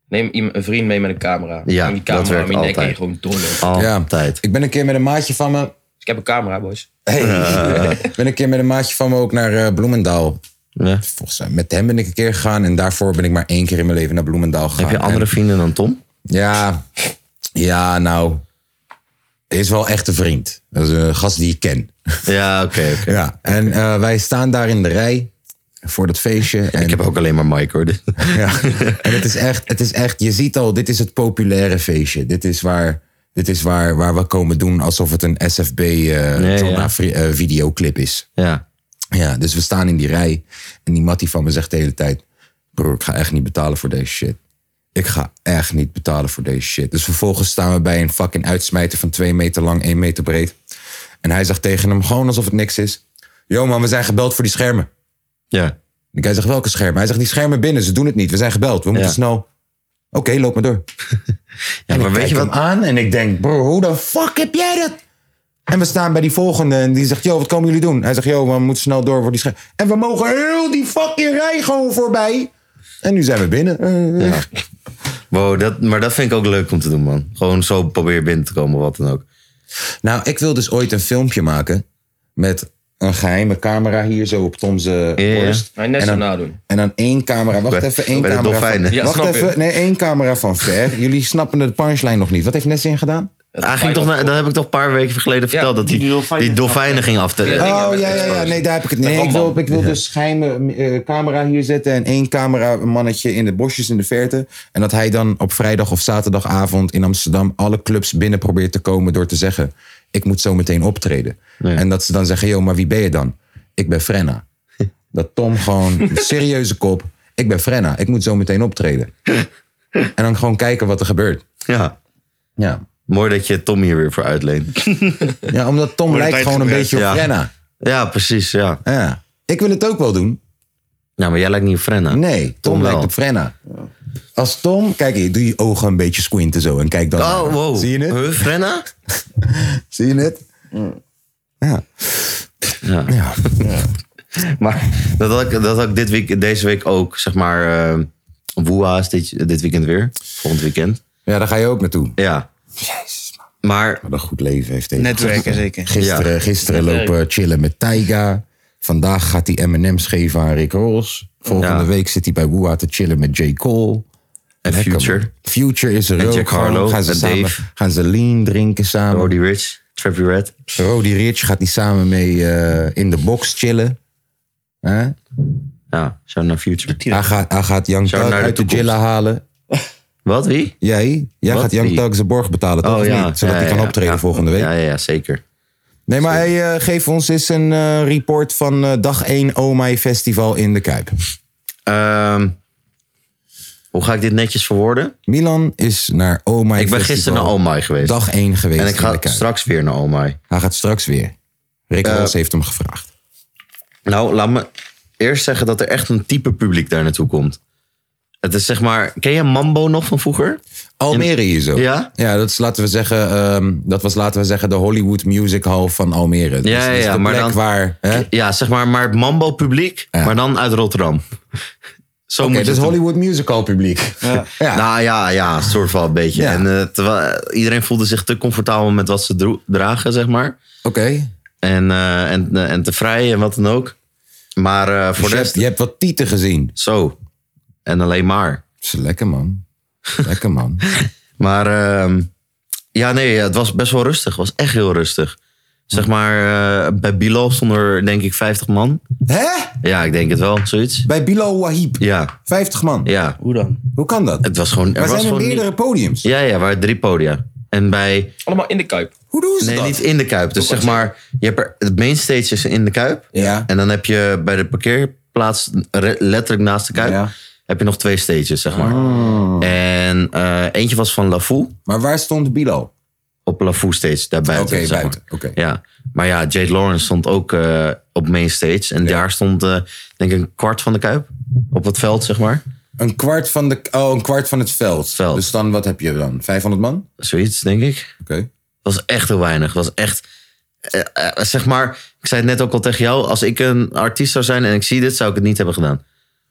Neem iemand- een vriend mee met een camera. Ja, Neem die camera dat werkt om je nek altijd. heen, gewoon dolle. Dus Altijd. Ik ben een keer met een maatje van me ik heb een camera, boys. Hey. Ik ben een keer met een maatje van me ook naar eh, Bloemendaal. Ja. Volgens mij, met hem ben ik een keer gegaan. En daarvoor ben ik maar één keer in mijn leven naar Bloemendaal gegaan. Heb je andere vrienden dan Tom? En- ja, ja, nou. hij Is wel echt een vriend. Dat is een gast die ik ken. Ja, oké. oké. Ja. En eh, wij staan daar in de rij voor dat feestje. En, Ik heb ook alleen maar Mike hoor. <laughs> ja. en het, is echt, het is echt, je ziet al, dit is het populaire feestje. Dit is waar, dit is waar, waar we komen doen alsof het een SFB eh ja. Jonna Fri- eh, videoclip is. Ja. Ja, dus we staan in die rij. En die Mattie van me zegt de hele tijd... Broer, ik ga echt niet betalen voor deze shit. Ik ga echt niet betalen voor deze shit. Dus vervolgens staan we bij een fucking uitsmijter van 2 meter lang, 1 meter breed. En hij zegt tegen hem, gewoon alsof het niks is. Yo man, we zijn gebeld voor die schermen. Ja. En hij zegt, welke schermen? Hij zegt, die schermen binnen, ze doen het niet. We zijn gebeld, we moeten Ja. snel... Oké, loop maar door. ja maar weet je wat? aan en ik denk, bro, hoe de fuck heb jij dat? En we staan bij die volgende en die zegt, yo, wat komen jullie doen? Hij zegt, yo, we moeten snel door voor die scherm. En we mogen heel die fucking rij gewoon voorbij. En nu zijn we binnen. Eh, Wow, dat, maar dat vind ik ook leuk om te doen, man. Gewoon zo probeer binnen te komen, wat dan ook. Nou, ik wil dus ooit een filmpje maken met een geheime camera hier zo op Tom's eh, Ja, ja. borst. Nou, net en zo dan, nadoen. en dan één camera, wacht Bij- even, één bij de camera. van, dolfijnen. Ja, wacht snap je. even, nee, één camera van ver. Jullie snappen de punchline nog niet. Wat heeft Nessin gedaan? Hij ging toch, naar- dat heb ik toch een paar weken geleden verteld. dat die, die dolfijnen, ging aftellen. Ja. Oh met ja, ja, ja. Nee, daar heb ik het. Nee, ik wil, ik wil dus geheime eh, camera hier zetten. En één camera, een mannetje in de bosjes in de verte. En dat hij dan op vrijdag of zaterdagavond in Amsterdam alle clubs binnen probeert te komen door te zeggen: Ik moet zo meteen optreden. En dat ze dan zeggen: Yo, maar wie ben je dan? Ik ben <laughs> Frenna. Dat Tom gewoon, een serieuze kop. Ik ben Frenna, ik moet zo meteen optreden. En dan gewoon kijken wat er gebeurt. Ja. Ja, Mooi dat je Tom hier weer voor <laughs> uitleent. ja omdat Tom lijkt tijd gewoon een gebruikt, beetje op ja. Frenna. Ja, precies, ja. Ja. Ik wil het ook wel doen. Nou, maar jij lijkt niet op Frenna. Nee, Tom, Tom wel. lijkt op Frenna. Als Tom, kijk hier, doe je ogen een beetje squinten zo en kijk dan. naar Oh, me. wow. Zie je het? Huh, Frenna? Zie je het? Ja. Ja. Ja. Maar dat had ik, dat had ik dit week, deze week ook, zeg maar, eh Woeha is dit, dit weekend weer. Volgend weekend. ja, daar ga je ook naartoe. Ja. Maar Wat een goed leven heeft deze. Netwerken zeker. Gisteren, gisteren lopen chillen met Taiga. Vandaag gaat hij M&M's geven aan Rick Ross. Volgende Ja. week zit hij bij Woeha te chillen met J. Cole. en Lekker, man. Future, Future is er En ook. Jack gewoon. Harlow Gaan ze, en samen, Dave. gaan ze lean drinken samen. Roddy, Roddy Rich, Trappy Red. Rich gaat hij samen mee eh, in de box chillen. Hè? Ja, zo naar Future. Hij gaat, hij gaat Young Zou Thug naar de uit de toekomst. Jilla halen. Wat, wie? Jij? Jij Wat? gaat Young Wie? Thug zijn borg betalen, toch? Of niet? Zodat Ja, hij ja, kan ja. optreden Ja. volgende week. Ja, ja, ja, zeker. Nee, maar hey, eh, geef ons eens een eh, report van eh, dag 1 Omai Festival in de Kuip. Ehm, hoe ga ik dit netjes verwoorden? Milan is naar Omai Ik ben Festival gisteren naar Almai geweest. Dag 1 geweest en ik in ga de Kuip. straks Eh, weer naar Almai. Hij gaat straks weer. Rick Ross heeft hem gevraagd. Nou, laat me eerst zeggen dat er echt een type publiek daar naartoe komt. Het is zeg maar... Ken je Mambo nog van vroeger? Almere hier zo. Ja? Ja, dat is, laten we zeggen, ehm, dat was laten we zeggen de Hollywood Music Hall van Almere. Dus ja, dat is ja, de maar plek dan- waar... Hè? Oké, Ja, zeg maar, maar het Mambo-publiek, maar dan uit Rotterdam. <laughs> Zo moet dat je is het doen. Hollywood Music Hall publiek. Ja. Nou ja, ja, soort van een beetje. Ja. En, eh, terwijl- iedereen voelde zich te comfortabel met wat ze dro- dragen, zeg maar. Oké. En, eh, en, eh, en te vrij en wat dan ook. Maar eh, Dus je, voor de hebt- rest, je hebt wat tieten gezien. zo. En alleen maar. Dat is lekker, man. Lekker, man. Maar ehm, ja, nee, het was best wel rustig. Het was echt heel rustig. Zeg maar, eh, bij Bilo stond er denk ik 50 man. <laughs> Hè? Ja, ik denk het wel, zoiets. Bij Bilal Wahib. Ja, 50 man. ja. Hoe dan? Hoe kan dat? Het was gewoon... Er Maar was zijn er gewoon niet- meerdere podiums? Ja, ja, waar drie podia. En bij... Allemaal in de kuip. Hoe doen ze Nee, dat? niet in de Kuip. Dus zeg maar, je hebt er, het main stage is in de Kuip. Ja. En dan heb je bij de parkeerplaats, re- letterlijk naast de Kuip, Ja. Oh. heb je nog twee stages, zeg maar. En eh, eentje was van LaFou, Maar waar stond Bilal? op LaFou stage, daar buiten. Oké, zeg maar. buiten, oké. Ja. Maar ja, Jade Lawrence stond ook eh, op main stage. En daar stond, eh, denk ik, een kwart van de Kuip op het veld, zeg maar. Een kwart van, de, oh, een kwart van het veld. Veld. Dus dan, wat heb je dan? 500 man? Zoiets, denk ik. Oké. was echt heel weinig. was echt, eh, eh, zeg maar, ik zei het net ook al tegen jou. Als ik een artiest zou zijn en ik zie dit, zou ik het niet hebben gedaan.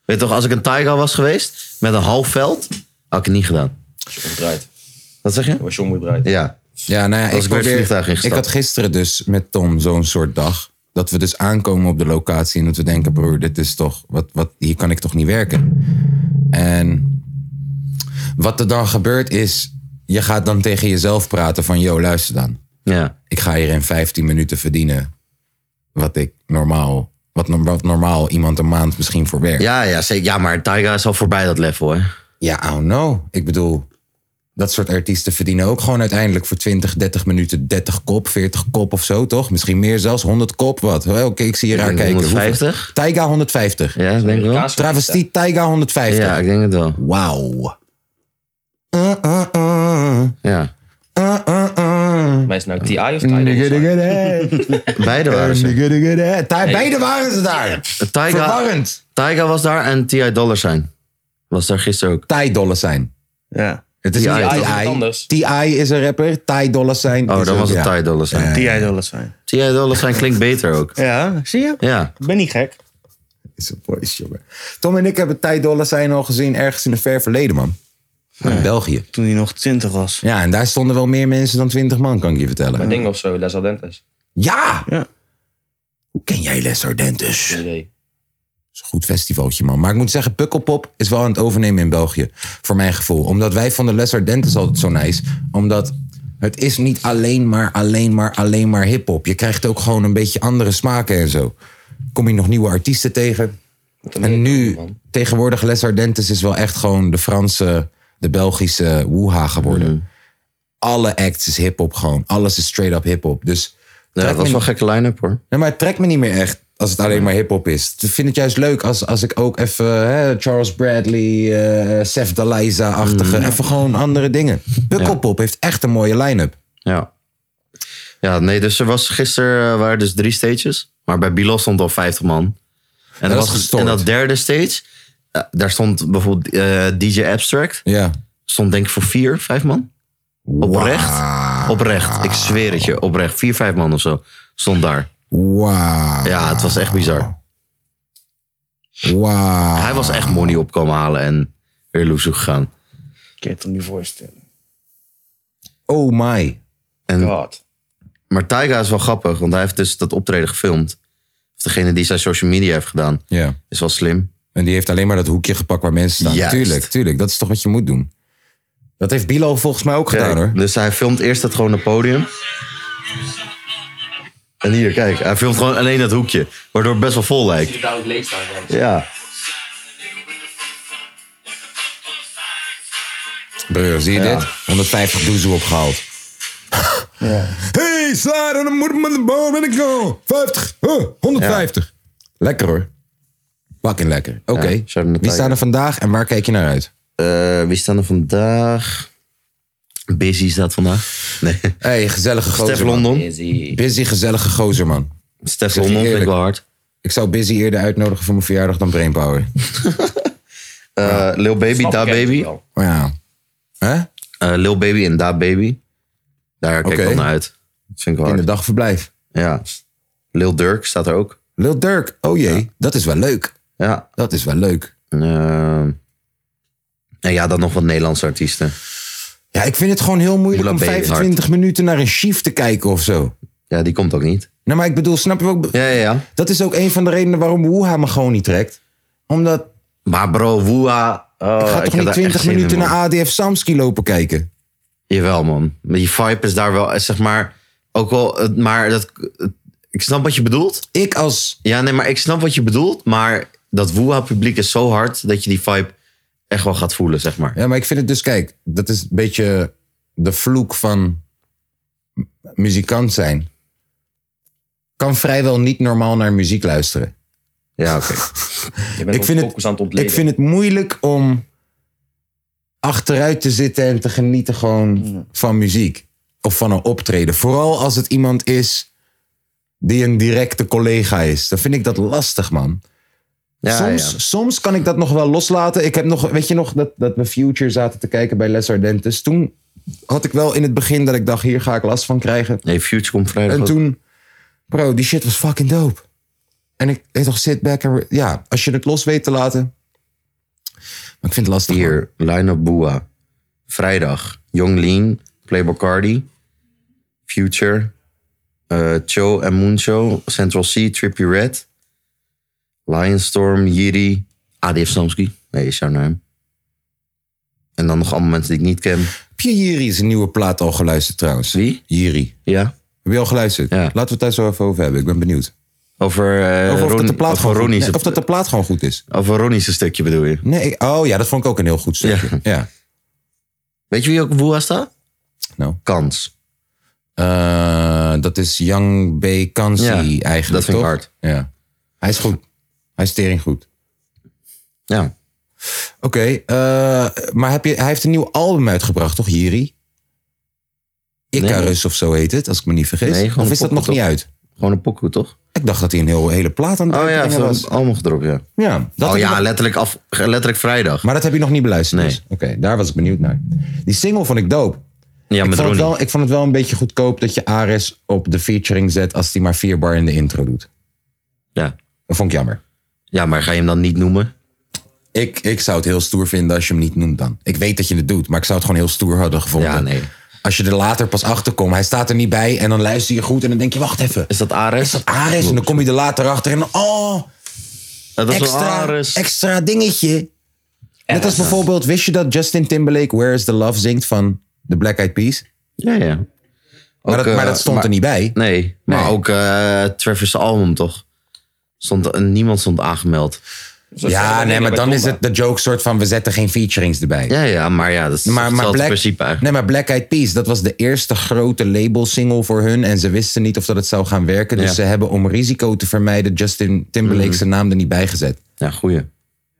Weet je toch, als ik een Tiger was geweest met een half veld, had ik het niet gedaan. Omgedraaid. Wat zeg je? Was jong omgedraaid. Ja. Ja, nou ja, Als ik, ik weer het probeer- vliegtuig ik ingestapt. had gisteren dus met Tom zo'n soort dag. Dat we dus aankomen op de locatie en dat we denken, broer, dit is toch, wat, wat, hier kan ik toch niet werken. En wat er dan gebeurt is, je gaat dan tegen jezelf praten van, yo, luister dan. Ja. Ik ga hier in 15 minuten verdienen wat ik normaal, wat, no- wat normaal iemand een maand misschien voor werkt. Ja, ja, zeker. ja, maar Tiger is al voorbij dat level, hè? Ja, oh no. Ik bedoel, dat soort artiesten verdienen ook gewoon uiteindelijk voor 20, 30 minuten 30 kop, 40 kop of zo, toch? Misschien meer zelfs, 100 kop, wat? Wel, Oké, ik zie je raar denk kijken. 150? Hoeveel? Taiga 150. Ja, ik denk ik wel. Amerikaanse Travestie Taiga 150. Ja, ik denk het wel. Wauw. Uh, uh, uh. Ja. Uh, uh, uh. eh. Wij zijn nou TI of TI? Digga, Volgens mij. digga, digga. Beide waren ze. Digga, digga, digga. Daar- eh. Beide waren ze daar. Tiger, Verwarrend. Tiger was daar en T.I. Dollar zijn. Was daar gisteren ook. Thai dollar zijn. Ja. Het is T.I. niet is wat T.I. anders. T.I. is een rapper. Thai dollar zijn. Oh, is dan een- was het ja. T.I. Dollar zijn. Die jij wel eens zijn. T.I. Dollar zijn klinkt beter ook. Ja, zie je? Ja. Ik ben niet gek. is een voice, jongen. Tom en ik hebben Tijdollars zijn al gezien ergens in een ver verleden, man. In België. Toen hij nog 20 was. Ja, en daar stonden wel meer mensen dan 20 man, kan ik je vertellen. Ding of zo, Les Ardentes. Ja! Ja. Hoe ken jij Les Ardentes? Geen Dat idee. is een goed festivaltje, man. Maar ik moet zeggen, Pukkelpop is wel aan het overnemen in België. Voor mijn gevoel. Omdat wij vonden Les Ardentes altijd zo nice. Omdat het is niet alleen maar, alleen maar, alleen maar hiphop. Je krijgt ook gewoon een beetje andere smaken en zo. Kom je nog nieuwe artiesten tegen? En nu, tegenwoordig Les Ardentes is wel echt gewoon de Franse, de Belgische woeha geworden. Mhm. Alle acts is hip-hop gewoon. Alles is straight-up hip-hop. Dus Ja, trek me dat was wel een niet- gekke line-up hoor. nee, maar het trekt me niet meer echt als het alleen maar hip-hop is. Ik vind het juist leuk als, als ik ook even hè, Charles Bradley, eh Seth Daliza-achtige, Mhm. even gewoon andere dingen. Pukkelpop heeft echt een mooie line-up. Ja. Ja, nee, dus er was gisteren eh, waren dus drie stages. Maar bij Bilo stond al 50 man. En, dat is was, gestoord. en dat derde stage, eh, daar stond bijvoorbeeld eh, DJ Abstract. Ja. Stond denk ik voor vier, vijf man. Oprecht. Oprecht. Ik zweer het je. Oprecht. Vier, vijf man of zo stond daar. Wauw. Ja, het was echt bizar. Wauw. Hij was echt money op komen halen en weer loesoe gegaan. Ik kan je het me niet voorstellen. Oh my. En God. Maar Tyga is wel grappig, want hij heeft dus dat optreden gefilmd. Of degene die zijn social media heeft gedaan. Ja. Is wel slim. En die heeft alleen maar dat hoekje gepakt waar mensen staan. Juist. Tuurlijk, tuurlijk. Dat is toch wat je moet doen. Dat heeft Bilal volgens mij ook gedaan hoor. Dus hij filmt eerst dat gewoon het podium. En hier, kijk. Hij filmt gewoon alleen dat hoekje. Waardoor het best wel vol lijkt. daar ook leeg staan. Ja. Breur, zie je dit? 150 doezoe opgehaald. Hey, slaar en dan moet ik met de boom en ik go. 50, huh, 150. Lekker hoor. Fucking lekker. Oké, Ja, shout-out naar wie Tiger. staan er vandaag en waar kijk je naar uit? Eh, wie staan er vandaag? Busy staat vandaag. Nee. hey, gezellige gozer. Stef man. London. Izzy. Busy, gezellige gozer man. Stef je London vind ik eerlijk. wel hard. Ik zou Busy eerder uitnodigen voor mijn verjaardag dan Brainpower. Eh, Lil Baby, Snap Da ik eigenlijk Baby. wel. Maar ja. Hè? Eh, Lil Baby en Da Baby. Daar kijk ik Oké. wel naar uit. Dat vind ik wel In de hard. dagverblijf. Ja. Lil Durk staat er ook. Lil Durk. Oh jee, dat is wel leuk. Ja. Dat is wel leuk. Ehm, en ja, dan nog wat Nederlandse artiesten. Ja, ik vind het gewoon heel moeilijk Moela om B. Hart. 25 minuten naar een chief te kijken of zo. Ja, die komt ook niet. Nou, maar ik bedoel, snap je ook? Ja, ja, ja. Dat is ook een van de redenen waarom Woeha me gewoon niet trekt. Omdat Maar bro, Woeha. Oh, ik ga heb toch niet daar echt 20 zin in, minuten man. naar ADF Samski lopen kijken. Jawel, man. Maar die vibe is daar wel, eh, zeg maar, ook wel, eh, maar dat, eh, ik snap wat je bedoelt. Ik als... Ja, nee, maar ik snap wat je bedoelt, maar dat Woeha publiek is zo hard dat je die vibe echt wel gaat voelen, zeg maar. Ja, maar ik vind het dus, kijk, dat is een beetje de vloek van m- muzikant zijn. Kan vrijwel niet normaal naar muziek luisteren. Ja, oké. Je bent Ik ook vind het- focus aan het ontleden. Ik vind het moeilijk om achteruit te zitten en te genieten gewoon van muziek. Of van een optreden. Vooral als het iemand is die een directe collega is. Dan vind ik dat lastig, man. Ja, soms, ja. soms kan ik dat nog wel loslaten. Ik heb nog, weet je nog, dat, dat we Future zaten te kijken bij Les Ardentes. Toen had ik wel in het begin dat ik dacht, hier ga ik last van krijgen. Nee, Future komt vrijdag. En ook. toen, bro, die shit was fucking dope. En ik deed toch sit back en re- ja, als je het los weet te laten. Maar ik vind het lastig. man. Hier, line-up Boa. Vrijdag, Young Lean, Playboy Cardi, Future, eh Cho en Moonshow, Central C, Trippie Red, Lionstorm, Yiri, ADF Samsky. Nee, is jouw naam. En dan nog allemaal mensen die ik niet ken. Heb je Jiri zijn nieuwe plaat al geluisterd trouwens? Wie? Jiri. Ja. Heb je al geluisterd? Ja. Laten we het daar zo even over hebben. Ik ben benieuwd. Over, eh, Of, of, Ron- dat de plaat over gewoon goed, Ronnie's- nee, of dat de plaat gewoon goed is. over Ronnie's stukje bedoel je. Nee, ik- oh ja, dat vond ik ook een heel goed stukje. Ja. Weet je wie ook op Boa staat? Nou. Kans. Eh, dat is Young B. Kansi Ja, eigenlijk, dat vind ik toch? hard. Ja. Hij is goed. Hij is tering goed. Ja. Oké, eh, maar heb je, hij heeft een nieuw album uitgebracht, toch, Jiri? Icarus of zo heet het, als ik me niet vergis. Nee, gewoon of is dat een nog niet uit? Gewoon een pokoe, toch? Ik dacht dat hij een heel, hele plaat aan het Oh ja, uitbrengen veel- was. allemaal gedropt, ja. Ja, dat oh heb je ja, nog- letterlijk, af, letterlijk vrijdag. maar dat heb je nog niet beluisterd. Nee. dus. Oké, daar was ik benieuwd naar. Die single vond ik dope. Ja, Ik met vond, het Ronnie. wel, ik vond het wel een beetje goedkoop dat je Ares op de featuring zet als hij maar vier bar in de intro doet. Ja. Dat vond ik jammer. ja, maar ga je hem dan niet noemen? Ik, ik zou het heel stoer vinden als je hem niet noemt dan. Ik weet dat je het doet, maar ik zou het gewoon heel stoer hadden gevonden. Ja, nee. Als je er later pas achter komt, hij staat er niet bij en dan luister je goed en dan denk je, wacht even. Is dat Ares? Is dat Ares? En dan kom je er later achter en dan, oh, dat is wel extra, Ares. extra dingetje. Net als bijvoorbeeld, wist je dat Justin Timberlake Where is the Love zingt van The Black Eyed Peas? ja, ja. Maar, dat, Ook, maar eh, dat stond er niet bij. Nee, maar Nee. ook eh Travis' album toch? Stond, niemand stond aangemeld. Zo zeggen ja, we nee, maar bij dan is Tomba. het de joke soort van, we zetten geen featurings erbij. Ja, ja, maar ja, dat is Maar, maar, hetzelfde Black, principe eigenlijk. nee, maar Black Eyed Peas, dat was de eerste grote labelsingle voor hun. En ze wisten niet of dat het zou gaan werken. Dus Ja. Mhm. ze hebben om risico te vermijden Justin Timberlake zijn naam er niet bij gezet. Ja, goeie.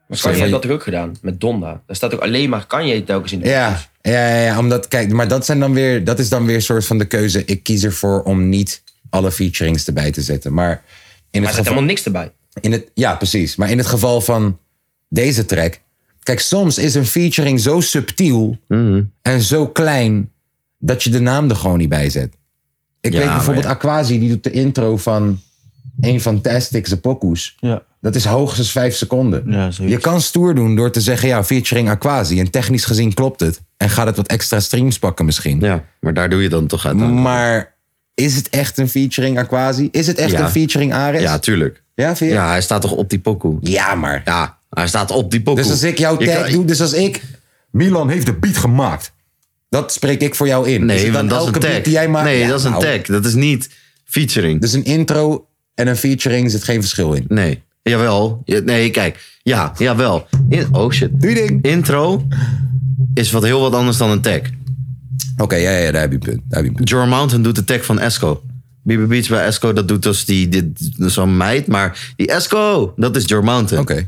Maar Kanye heeft dat toch ook gedaan? Met Donda. Daar staat ook alleen maar Kanye telkens in de Ja, ja, ja, ja, omdat, kijk, maar dat, zijn dan weer, dat is dan weer een soort van de keuze. Ik kies ervoor om niet alle featurings erbij te zetten. Maar in Maar het er zit geval, helemaal niks erbij. in het, ja, precies. Maar in het geval van Deze track. Kijk, soms is een featuring zo subtiel Mhm. en zo klein dat je de naam er gewoon niet bij zet. Ik Ja, weet maar bijvoorbeeld ja. Aquasi, die doet de intro van een van Tastic's pokoes. Ja. Dat is hoogstens vijf seconden. Ja, zoiets. je kan stoer doen door te zeggen, ja, featuring Aquasi. En technisch gezien klopt het. En gaat het wat extra streams pakken misschien. Ja, maar daar doe je dan toch uit. Mm. Maar is het echt een featuring Aquasi? Is het echt Ja. een featuring Ares? Ja, tuurlijk. ja, vind je? Ja, hij staat toch op die pokoe? Ja, maar. Ja, hij staat op die pokoe. Dus als ik jouw Je tag kan- doe, dus als ik... Milan heeft de beat gemaakt. Dat spreek ik voor jou in. Is Nee, het dus want dan dat is een elke tag. beat die jij maakt? Nee, Ja, dat is een nou, tag. Dat is niet featuring. Dus een intro en een featuring zit geen verschil in. Nee. Jawel. Ja, Nee, kijk. Ja, jawel. In, oh shit. Doe je ding. Intro is wat heel wat anders dan een tag. Oké, ja, ja, daar heb je een punt. Daar heb je een punt. Jor Mountain doet de tag van Esco. BB Beats bij Esco, dat doet dus die, die, zo'n meid. Maar die Esco, dat is Jor Mountain. Oké.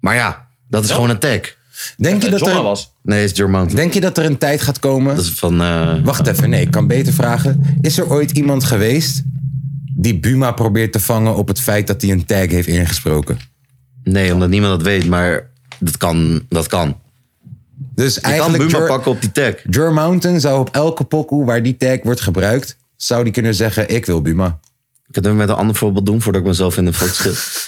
Maar ja, dat is gewoon een tag. Denk, je dat Jonna er- was. Nee, is Jor Mountain. denk je dat er een tijd gaat komen... Dat is van... eh, Wacht even, nee, ik kan beter vragen. Is er ooit iemand geweest die Buma probeert te vangen op het feit dat hij een tag heeft ingesproken? nee, omdat niemand dat weet, maar dat kan. Dat kan. Dus Je kan eigenlijk Buma Jor- pakken op die tag. Jor Mountain zou op elke pokoe waar die tag wordt gebruikt, zou die kunnen zeggen: ik wil Buma. Ik kan het even met een ander voorbeeld doen voordat ik mezelf in de foto <laughs> schiet.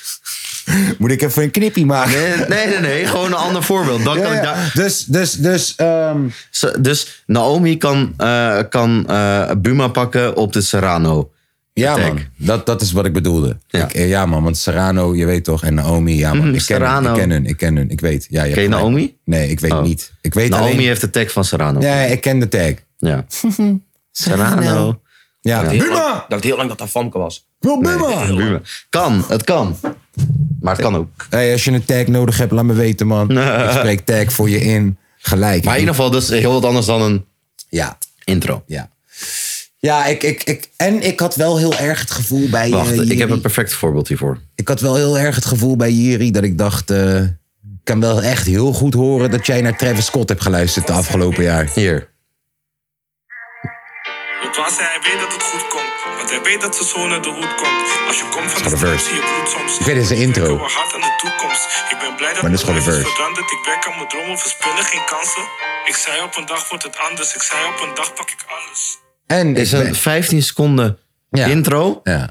Moet ik even een knippie maken? Nee, nee, nee, nee, gewoon een ander voorbeeld. Dan Ja, kan ik ja. daar- Dus, dus, dus. ehm, Ze- Dus Naomi kan, eh, kan eh, Buma pakken op de Serrano. ja, Tag. man. Dat, dat is wat ik bedoelde. Ja. Ja. Ik, eh, ja, man. Want Serrano, je weet toch. En Naomi, <laughs> ja, man. Mhm, ik, ken hun, Serrano. ik ken hun, ik ken hun. Ik weet. Ja, je Ken je hebt gelijk. Naomi? Oh. Nee, ik weet niet. Ik weet Naomi alleen... heeft de tag van Serrano. Ja. Nee, ik ken de tag. Serrano. Ja. Heel Buma! lang- Ik dacht heel lang dat dat Famke was. Ik wil Buma! Buma. Kan, het kan. Maar het kan ook. Hey, als je een tag nodig hebt, laat me weten, <laughs> man. Ik spreek tag voor je in. Gelijk. Maar in ieder geval, dat is heel wat anders dan een Ja, intro. ja. Ja, ik, ik, ik, en ik had wel heel erg het gevoel bij... eh, Wacht, ik Jiri- heb een perfect voorbeeld hiervoor. ik had wel heel erg het gevoel bij Jiri dat ik dacht... eh, ik kan wel echt heel goed horen dat jij naar Travis Scott hebt geluisterd de afgelopen jaar. Hier. Klaas hij weet dat het goed komt, want hij weet dat zijn zoon uit de hoed komt. Als je komt van de gewoon een straat, zie je bloed soms. Ik weet, dit is de intro. Ik werk hard aan de toekomst. Ik ben blij dat Maar dit is gewoon een mijn leven verse. verandert. Ik werk aan mijn dromen, verspillen geen kansen. Ik zei op een dag wordt het anders. Ik zei op een dag pak ik alles. En Is ik een ben- 15 seconden Ja. intro ja,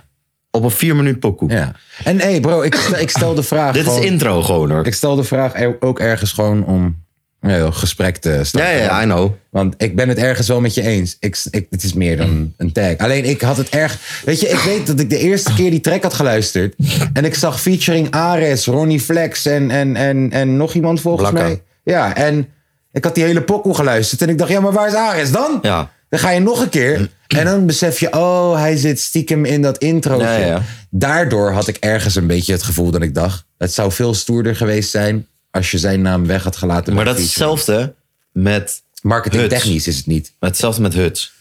op een 4 minuut pokoe. ja. En hé hey bro, ik, stel- ik stel de vraag <laughs> Dit is gewoon- intro gewoon hoor. Ik stel de vraag er- ook ergens gewoon om ja, gesprek te Ja, starten. ja, ja, I know. Want ik ben het ergens wel met je eens. Ik, ik, het is meer dan een tag. Alleen ik had het erg. Weet je, ik weet dat ik de eerste keer die track had geluisterd. En ik zag featuring Ares, Ronnie Flex en, en, en, en nog iemand volgens Blakka. mij. Ja, en ik had die hele pokoe geluisterd. En ik dacht, ja, maar waar is Ares dan? Ja. Dan ga je nog een keer. En dan besef je, oh, hij zit stiekem in dat intro. Ja, ja, ja. Daardoor had ik ergens een beetje het gevoel dat ik dacht... het zou veel stoerder geweest zijn als je zijn naam weg had gelaten. Maar bij dat is featuring. hetzelfde met, Marketingtechnisch is het niet. hetzelfde met Huts.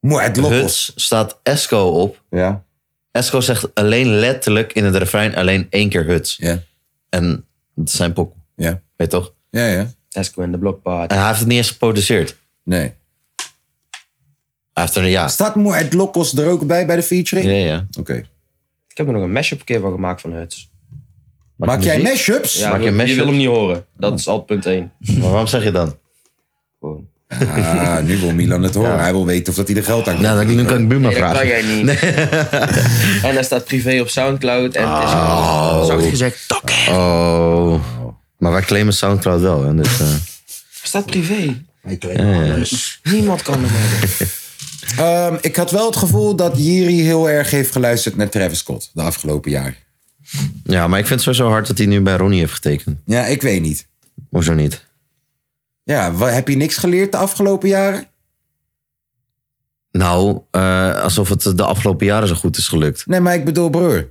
Maar het lokkels. Huts staat Esco op. Ja. Esco zegt alleen letterlijk in het refrein alleen één keer Huts. Ja. En dat zijn pop. Ja. Weet je toch? Ja, ja. Tesco en de Blockparty. En hij heeft het niet eens geproduceerd. Nee. Hij heeft er, ja. Staat Moed Lokos er ook bij bij de featuring? Ja, ja. Oké. Ik heb er nog een mashup een keer van gemaakt van Huts. Maak jij muziek? mashups? Ja, Maak je je, mashup? wil hem niet horen. Dat is al punt 1. Maar waarom zeg je dan? Gewoon. Ah, nu wil Milan het horen. Hij wil weten of dat hij er geld aan Nou, dan, nu kan ik Buma Nee, dat kan vragen. jij niet. en hij staat privé op Soundcloud. En het is Ah. oh. zacht gezegd, tak. Oh. Maar wij claimen Soundcloud wel. Hè? Dus, eh, Hij staat privé. eh. Niemand kan hem hebben. Ehm, ik had wel het gevoel dat Jiri heel erg heeft geluisterd naar Travis Scott de afgelopen jaar. <laughs> Ja, maar ik vind het sowieso hard dat hij nu bij Ronnie heeft getekend. Ja, ik weet niet. Hoezo niet? Ja, wa- heb je niks geleerd de afgelopen jaren? Nou, eh, alsof het de afgelopen jaren zo goed is gelukt. Nee, maar ik bedoel, broer.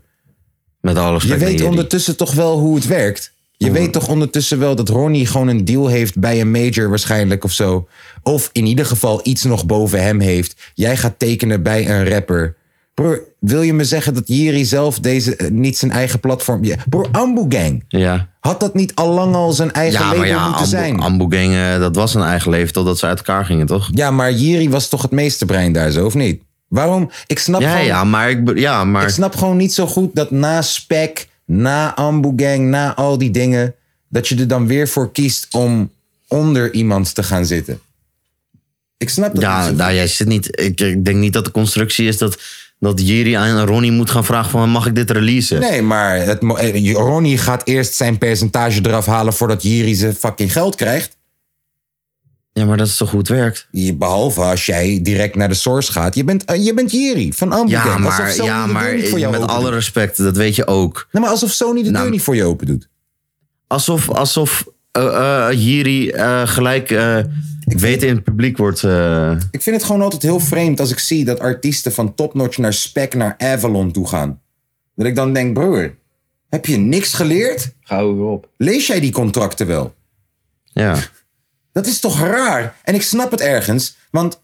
Met alles. Je weet ondertussen toch wel hoe het werkt? Je weet toch ondertussen wel dat Ronnie gewoon een deal heeft bij een major waarschijnlijk of zo. Of in ieder geval iets nog boven hem heeft. Jij gaat tekenen bij een rapper. Broer, wil je me zeggen dat Jiri zelf deze, eh, niet zijn eigen platform... Ja, Broer, Ambu Gang. Ja. Had dat niet allang al zijn eigen Ja, label maar ja, moeten zijn? Ambo- Ambo Gang, eh, dat was een eigen leven totdat ze uit elkaar gingen, toch? ja, maar Jiri was toch het meesterbrein daar zo, of niet? Waarom? Ik snap Ja, gewoon- ja, maar ik, be- ja, maar Ik snap gewoon niet zo goed dat na Spec, na Ambu Gang, na al die dingen... dat je er dan weer voor kiest om onder iemand te gaan zitten. Ik snap dat niet Ja, zo nou, jij zit niet. Ik, ik denk niet dat de constructie is dat, dat Jiri aan Ronnie moet gaan vragen: van, mag ik dit releasen? Nee, maar het, mo- eh, Ronnie gaat eerst zijn percentage eraf halen voordat Jiri zijn fucking geld krijgt. Ja, maar dat is toch hoe het werkt? Je- Behalve als jij direct naar de source gaat. Je bent, eh, je bent Jiri van Ambutent. Ja, alsof maar, Sony ja, de deur maar niet voor jou met open alle doet. respect, dat weet je ook. Nee, maar alsof Sony de Nou, deur niet voor je open doet. Alsof, alsof eh, eh, Jiri eh, gelijk eh weten in het publiek wordt. eh, Ik vind het gewoon altijd heel vreemd als ik zie dat artiesten van Topnotch naar Spec naar Avalon toe gaan. Dat ik dan denk, broer, heb je niks geleerd? Gauw weer op. Lees jij die contracten wel? ja. Dat is toch raar? En ik snap het ergens. Want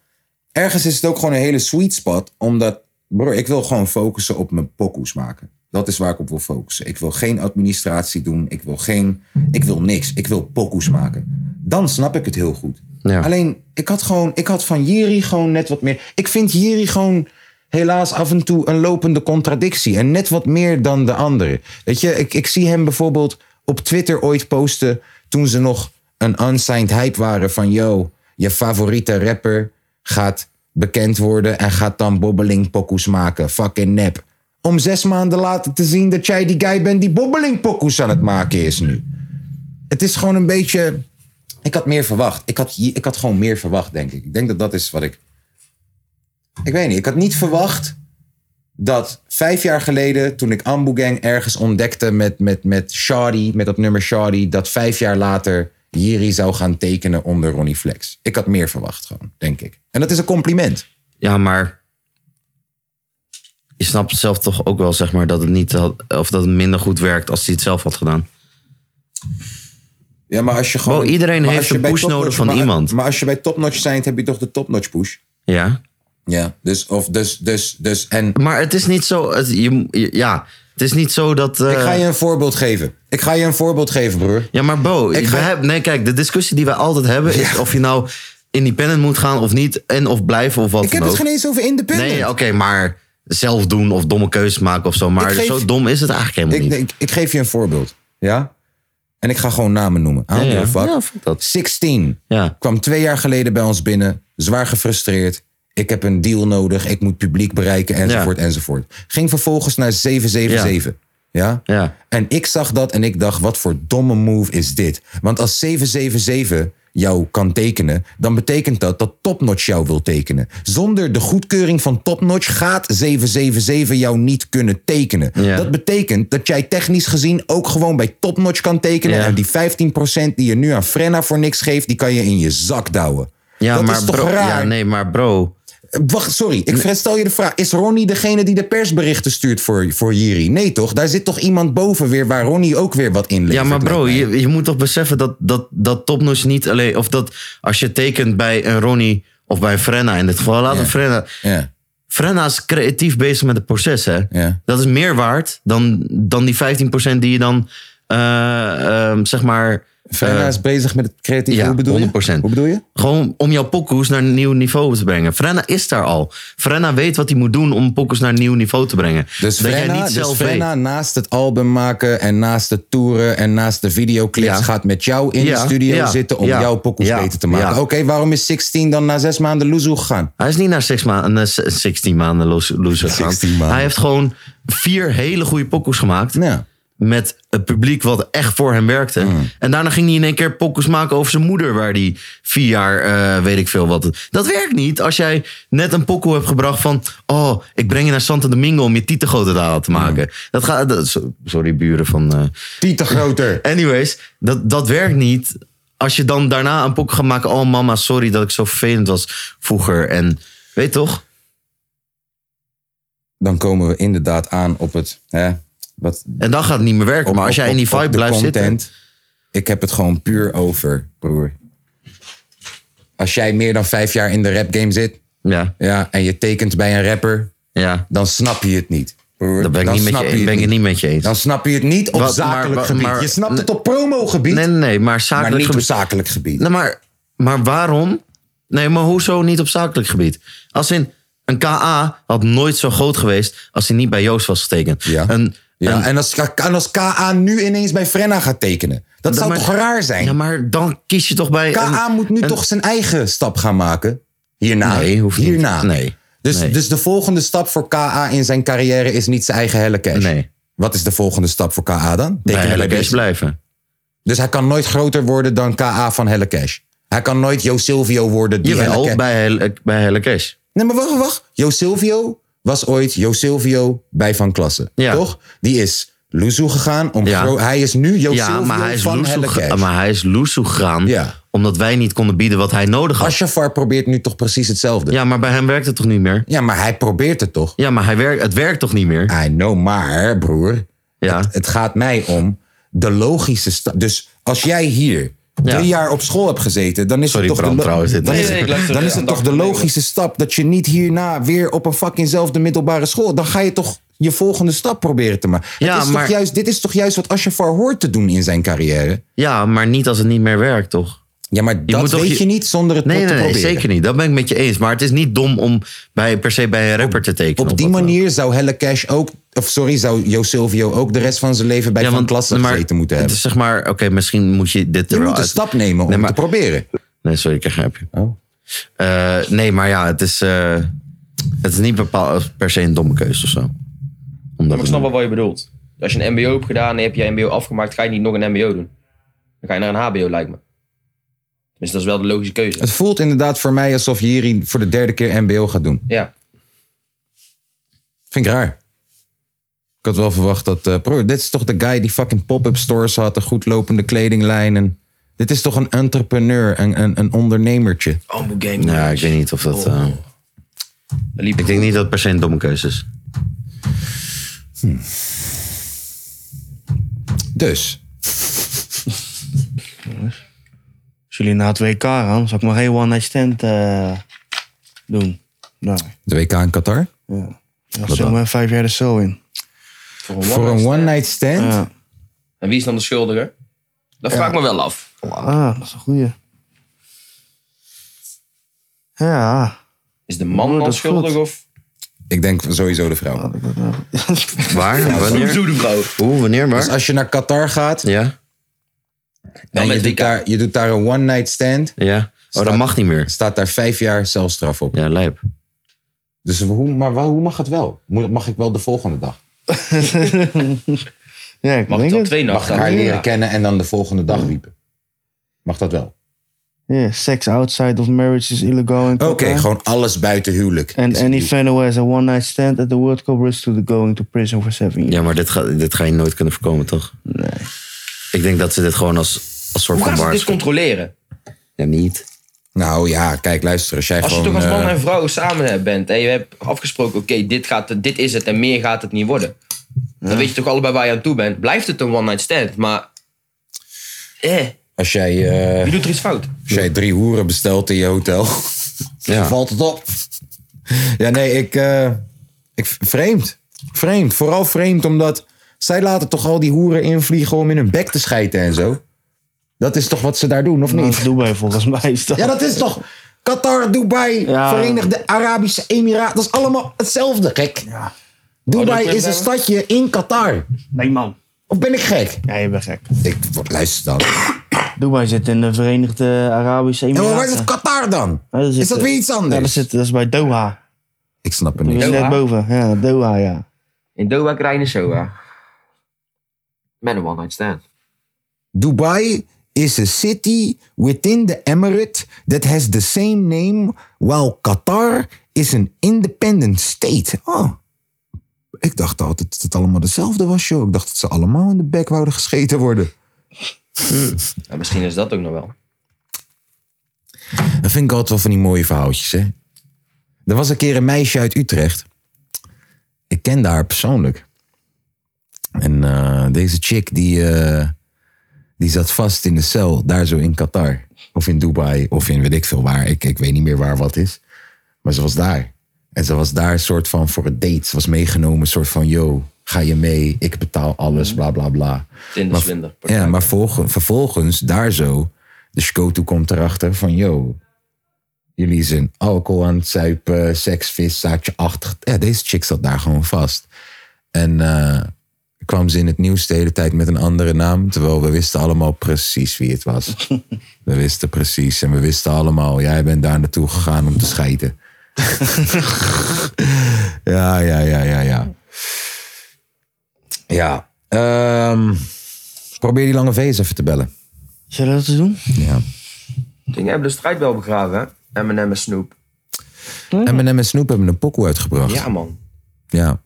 ergens is het ook gewoon een hele sweet spot. Omdat, broer, ik wil gewoon focussen op mijn pokoes maken. Dat is waar ik op wil focussen. Ik wil geen administratie doen. Ik wil geen... Ik wil niks. Ik wil pokoes maken. Dan snap ik het heel goed. Ja. Alleen, ik had gewoon... Ik had van Jiri gewoon net wat meer... Ik vind Jiri gewoon helaas af en toe een lopende contradictie. En net wat meer dan de anderen. Weet je, ik, ik zie hem bijvoorbeeld op Twitter ooit posten... toen ze nog een unsigned hype waren van... yo, je favoriete rapper gaat bekend worden... en gaat dan bobbeling pokoes maken. Fucking nep. Om zes maanden later te zien dat jij die guy bent... die bobbeling pokoes aan het maken is nu. Het is gewoon een beetje... Ik had meer verwacht. Ik had, ik had gewoon meer verwacht, denk ik. Ik denk dat dat is wat ik... Ik weet niet. Ik had niet verwacht dat vijf jaar geleden, toen ik Ambu Gang ergens ontdekte met, met, met Shadi, met dat nummer Shadi, dat vijf jaar later Jiri zou gaan tekenen onder Ronnie Flex. Ik had meer verwacht gewoon, denk ik. En dat is een compliment. Ja, maar je snapt zelf toch ook wel, zeg maar, dat het niet had- of dat het minder goed werkt als hij het zelf had gedaan. Ja, maar als je gewoon... Wow, iedereen maar als heeft je een bij push Top nodig Notch- van maar- iemand. Maar als je bij topnotch bent, heb je toch de topnotch push. Ja. Ja. Dus, of dus, dus, dus. En Maar het is niet zo. Het, je, je- ja, het is niet zo dat. eh, ik ga je een voorbeeld geven. Ik ga je een voorbeeld geven, broer. Ja, maar Bo, ik ga- heb, nee, kijk, de discussie die wij altijd hebben is of je nou independent moet gaan of niet en of blijven of wat Ik heb dan het ook. geen eens over independent. nee, oké, maar zelf doen of domme keuzes maken of zo. Maar Ik geef- zo dom is het eigenlijk helemaal ik, niet. ik, ik geef je een voorbeeld. Ja? En ik ga gewoon namen noemen. I don't Ja, ja. give a fuck. Ja, fuck dat. 16 Ja. kwam twee jaar geleden bij ons binnen. Zwaar gefrustreerd. Ik heb een deal nodig. Ik moet publiek bereiken. Enzovoort, enzovoort. Ging vervolgens naar 777. Ja? Ja. En ik zag dat en ik dacht, wat voor domme move is dit? Want als 777 jou kan tekenen, dan betekent dat dat Topnotch jou wil tekenen. Zonder de goedkeuring van Topnotch gaat 777 jou niet kunnen tekenen. Ja. Dat betekent dat jij technisch gezien ook gewoon bij Topnotch kan tekenen. Ja. En die 15% die je nu aan Frenna voor niks geeft, die kan je in je zak douwen. Ja, dat maar is toch bro, raar? Ja, nee, maar bro. Wacht, sorry. Ik stel je de vraag. Is Ronnie degene die de persberichten stuurt voor, voor Jiri? Nee, toch? Daar zit toch iemand boven weer waar Ronnie ook weer wat in levert? Ja, maar lijkt bro, mij. je, je moet toch beseffen dat, dat, dat topnotch niet alleen... Of dat als je tekent bij een Ronnie of bij een Frenna in dit geval. Laat Ja. een Frenna... Ja, Frenna is creatief bezig met het proces, hè. Ja. Dat is meer waard dan, dan die 15% die je dan, eh, ehm, zeg maar... Frenna eh, is bezig met het creatieve. ja, hoe bedoel 100%. je? Hoe bedoel je? Gewoon om jouw pokoes naar een nieuw niveau te brengen. Frenna is daar al. Frenna weet wat hij moet doen om pokoes naar een nieuw niveau te brengen. Dus dat jij Frenna, niet dus zelf weet. Frenna naast het album maken en naast de toeren en naast de videoclips Ja. gaat met jou in Ja, de studio ja, zitten om ja, jouw pokoes ja, beter te maken. ja. Oké, waarom is 16 dan na zes maanden loezoe gegaan? Hij is niet naar zes maanden, eh, z- 16 maanden los- <laughs> loser gegaan. 16 maanden. Hij heeft gewoon vier hele goede pokoes gemaakt. Ja. Met het publiek wat echt voor hem werkte. Mm. En daarna ging hij in één keer pokoes maken over zijn moeder. Waar hij vier jaar, eh, weet ik veel wat. Dat werkt niet als jij net een pokoe hebt gebracht van... Oh, ik breng je naar Santo Domingo om je tieten groter te halen te maken. Mm. Dat gaat... dat- so- sorry, buren van... eh, Tieten groter. Anyways, dat, dat werkt niet. Als je dan daarna een pok gaat maken. Oh mama, sorry dat ik zo vervelend was vroeger. En weet toch? Dan komen we inderdaad aan op het... Hè, wat, En dan gaat het niet meer werken. op- maar op- als jij in die op- op vibe de blijft zitten. Ik heb het gewoon puur over, broer. Als jij meer dan vijf jaar in de rapgame zit Ja, ja, en je tekent bij een rapper, ja. dan snap je het niet. Broer. Dat ben ik, dan niet met snap je, het ben ik het niet met je eens. Dan snap je het niet op Wat- maar- zakelijk maar- gebied. maar- je snapt het op promogebied, Nee, nee, nee. Maar zakelijk maar niet op gebied. zakelijk gebied. Nee, maar, maar waarom? Nee, maar hoezo niet op zakelijk gebied? Als in, een KA had nooit zo groot geweest als hij niet bij Joost was getekend. Ja. Een, Ja, en als, K- en als KA nu ineens bij Frenna gaat tekenen. Dat zou maar- toch raar zijn? Ja, maar dan kies je toch bij... KA een- moet nu een- toch zijn eigen stap gaan maken? Hierna. Nee, hoeft niet. Hierna. Nee. Dus, Nee. dus de volgende stap voor KA in zijn carrière is niet zijn eigen Helle Cash. Nee, Wat is de volgende stap voor KA dan? bij Tekenen Helle bij Cash Beast. blijven. Dus hij kan nooit groter worden dan KA van Helle Cash. Hij kan nooit Jo Silvio worden. Die Helle Jawel, Cash- bij Helle, bij Helle Cash. Nee, maar wacht, wacht. Jo Silvio was ooit Jo Silvio bij Van Klassen. Ja. Toch? Die is Loezoe gegaan. Om Ja. gro- hij is nu Jo Ja, Silvio maar hij, is van Helle loesoe, ge- Cash. maar hij is loesoe gegaan. Ja. Omdat wij niet konden bieden wat hij nodig had. Ashafar probeert nu toch precies hetzelfde. Ja, maar bij hem werkt het toch niet meer? Ja, maar hij probeert het toch? Ja, maar hij werkt, het werkt toch niet meer? I know, maar broer, Ja. het gaat mij om de logische stap. Dus als jij hier drie jaar op school hebt gezeten, dan is Sorry, het toch Bram, de, lo- trouwens, dit- dan Nee, is, nee, ik luister dan is aan het de toch de achtergrond. logische stap dat je niet hierna weer op een fuckingzelfde middelbare school, dan ga je toch je volgende stap proberen te maken. Het Ja, is toch maar- juist, dit is toch juist wat Ashafar hoort te doen in zijn carrière? ja, maar niet als het niet meer werkt, toch? Ja, maar dat moet toch weet je... je- niet zonder het Nee, te nee, nee, proberen. zeker niet. Dat ben ik met je eens. Maar het is niet dom om bij, per se bij een rapper te tekenen. Op of die wat dan ook. manier zou Helle Cash ook, of sorry, zou Jo Silvio ook de rest van zijn leven bij Van Klassen maar gezeten moeten het hebben. is zeg maar, oké, misschien moet je dit Je er wel moet een uit- stap nemen om Nee, maar- te proberen. Nee, sorry, ik heb je. Oh. Eh, nee, maar ja, het is, eh, het is niet bepaald per se een domme keuze of zo. Omdat Maar ik snap wel wat je bedoelt. Als je een mbo hebt gedaan en heb je mbo afgemaakt, ga je niet nog een mbo doen. Dan ga je naar een hbo, lijkt me. Dus dat is wel de logische keuze. Het voelt inderdaad voor mij alsof je hier voor de derde keer MBO gaat doen. Ja. Vind ik raar. Ik had wel verwacht dat. eh, broer, dit is toch de guy die fucking pop-up stores had, een goedlopende kledinglijn. En dit is toch een entrepreneur, een, een, een ondernemertje. Ambo gang. Ja, ik weet niet of dat... Oh. eh, liep ik denk niet dat het per se een domme keuze is. Dus, <laughs> Als jullie na het WK gaan, zal ik maar geen one night stand eh, doen. Nou, de WK in Qatar. dat zit maar vijf jaar de cel in. Voor een Voor een one-night stand. Ja. En wie is dan de schuldige? Dat vraag ik me wel af. Ah, dat is een goeie. Ja. Is de man Oh, dat dan is schuldig goed. of... Ik denk sowieso de vrouw. Waar? wanneer? de vrouw. Hoe, wanneer maar? Dus als je naar Qatar gaat Ja, en je met doet, WK. daar, je doet daar een one-night stand, ja. Oh, dat Staat- mag niet meer. staat daar vijf jaar celstraf op. Ja, lijp. Dus hoe, maar wel- hoe mag het wel? Moet- Mag ik wel de volgende dag? ja, ik Mag denk ik dan het. twee Mag ik nachten haar aan? leren kennen en dan de volgende dag wiepen? Mag dat wel? Ja, sex outside of marriage is illegal in Oké, Qatar. gewoon alles buiten huwelijk. And Is any het- fan who has a one night stand at the World Cup risks to the going to prison for seven years. Ja, maar dit ga, dit ga je nooit kunnen voorkomen, toch? Nee. Ik denk dat ze dit gewoon als, als soort Hoe van gaan ze dit waarschuwing... controleren? Ja, niet. Nou ja, kijk, luister. Als jij Als je gewoon... toch als man eh, en vrouw samen hebt- bent en je hebt afgesproken, oké, dit gaat het, dit is het en meer gaat het niet worden. Dan weet je toch allebei waar je aan toe bent. Blijft het een one night stand, maar... Eh, als, jij, eh, wie doet er iets fout? als jij drie hoeren bestelt in je hotel, <laughs> dan valt het op. Ja, nee, ik, eh, ik... Vreemd. Vreemd. Vooral vreemd, omdat zij laten toch al die hoeren invliegen om in hun bek te schijten en zo. Dat is toch wat ze daar doen, of Dat niet? is Dubai volgens mij. Is dat. Ja, dat is toch... Qatar, Dubai, Ja. Verenigde Arabische Emiraten. Dat is allemaal hetzelfde, gek. Oh, Dubai is een stadje in Qatar. Nee man. Of ben ik gek? Ja, je bent gek. Ik luister dan. Dubai zit in de Verenigde Arabische Ja, Emiraten. maar waar is het Qatar dan? Ja, daar Is zit, dat eh, weer iets Ja, anders? dat, zit, dat is bij Doha. Ik snap het Dat niet. is Doha? net boven. Ja, Doha, ja. In Doha krijg je Soa. Met een one night stand. Dubai is a city within the emirate that has the same name, while Qatar is an independent state. Oh. Ik dacht altijd dat het allemaal dezelfde was, joh. Ik dacht dat ze allemaal in de bek wouden gescheten worden. Ja, misschien is dat ook nog wel. Dat vind ik altijd wel van die mooie verhaaltjes, hè. Er was een keer een meisje uit Utrecht. Ik kende haar persoonlijk. En eh, deze chick, die, eh, die zat vast in de cel, daar zo in Qatar. Of in Dubai, of in weet ik veel waar. Ik, ik weet niet meer waar wat is. Maar ze was daar. En ze was daar soort van voor een date. Ze was meegenomen, soort van, yo, ga je mee? Ik betaal alles, bla bla bla. Tinder slinder. Ja, maar volge- vervolgens daar zo. De Scoto komt erachter van, yo, jullie zijn alcohol aan het zuipen, seksvis, zaadje achter. Ja, deze chick zat daar gewoon vast. En eh, kwam ze in het nieuws de hele tijd met een andere naam. Terwijl we wisten allemaal precies wie het <laughs> was. We wisten precies en we wisten allemaal, jij bent daar naartoe gegaan om te <laughs> schijten. ja, ja, ja, ja, ja. Ja. ehm, probeer die lange V eens even te bellen. Zullen we dat eens doen? Ja. Ding hebben de strijd wel begraven, hè? M&M en Snoop. Oh. Eminem en Snoep hebben een pokoe uitgebracht. Ja, man. Ja.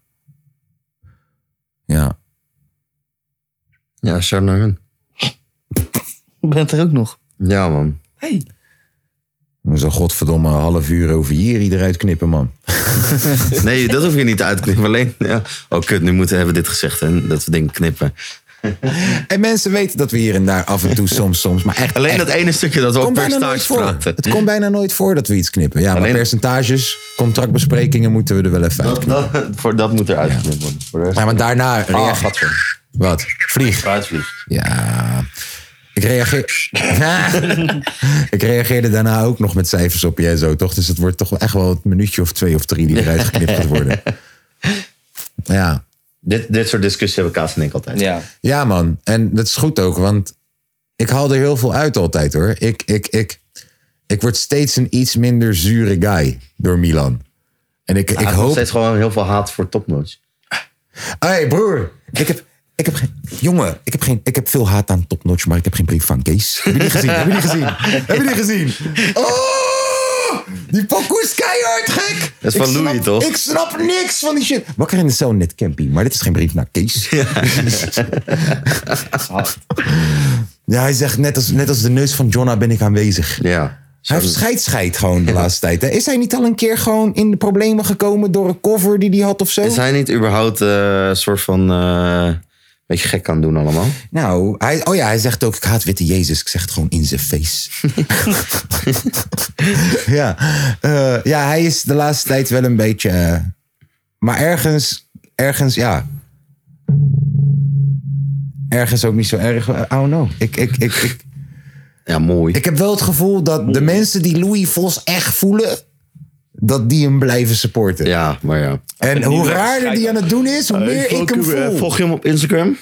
Ja. Ja, shout naar hun. Je bent er ook nog. Ja, man. We zo'n godverdomme half uur over hier eruit knippen, man. Nee, dat hoef je niet uit te knippen. Alleen, ja. Oh, kut, nu moeten hebben we dit gezegd en dat we dingen knippen. En mensen weten dat we hier en daar af en <laughs> toe soms, soms, maar echt... Alleen echt, dat ene stukje dat we het op komt bijna nooit percentage voor. praten. <laughs> Het komt bijna nooit voor dat we iets knippen. Ja, maar Alleen- percentages, contractbesprekingen moeten we er wel even uit. Dat, dat, voor, dat moet eruit geknipt worden. Voor de rest. Ja, maar daarna Ah, reageer... gadver. Wat? Vlieg. Fruitvlieg. Ja. Ik reageer... ik reageerde daarna ook nog met cijfers op je en zo, toch? Dus het wordt toch wel echt wel het minuutje of twee of drie die eruit geknipt gaat worden. Ja. Dit, dit soort discussies hebben Kaas en ik altijd. Ja. Ja, man. En dat is goed ook, want ik haal er heel veel uit altijd hoor. Ik, ik, ik, ik word steeds een iets minder zure guy door Milan. En ik, ik Ik hoop hoop. steeds gewoon heel veel haat voor topnotes. Hé, hey, broer. Ik heb, ik heb geen. Jongen, ik heb, geen, ik heb veel haat aan topnotch, maar ik heb geen brief van Kees. Heb je die gezien? heb je die gezien? Heb je die gezien? Oh! Die pokoe is keihard gek! Dat is Ik van snap- Louis, toch? Ik snap niks van die shit. Wakker in de cel net campy, maar dit is geen brief naar <laughs> Kees. Ja, hij zegt net als, net als de neus van Jonna ben ik aanwezig. Ja. Hij heeft scheid, scheid gewoon de laatste tijd. Hè? Is hij niet al een keer gewoon in de problemen gekomen door een cover die hij had of zo? Is hij niet überhaupt eh, een soort van... eh beetje gek kan doen allemaal? Nou, hij, oh ja, hij zegt ook, ik haat witte Jezus. Ik zeg het gewoon in zijn <laughs> face. ja. eh, ja, hij is de laatste tijd wel een beetje... eh, maar ergens, ergens, ja... Ergens ook niet zo erg. I don't know. Ik, ik, ik, ik, Ja, mooi. Ik heb wel het gevoel dat de mensen die Louis Vos echt voelen, dat die hem blijven supporten. Ja, maar ja. En hoe raarder die aan het doen is, hoe meer ik hem voel. eh, je hem op Instagram?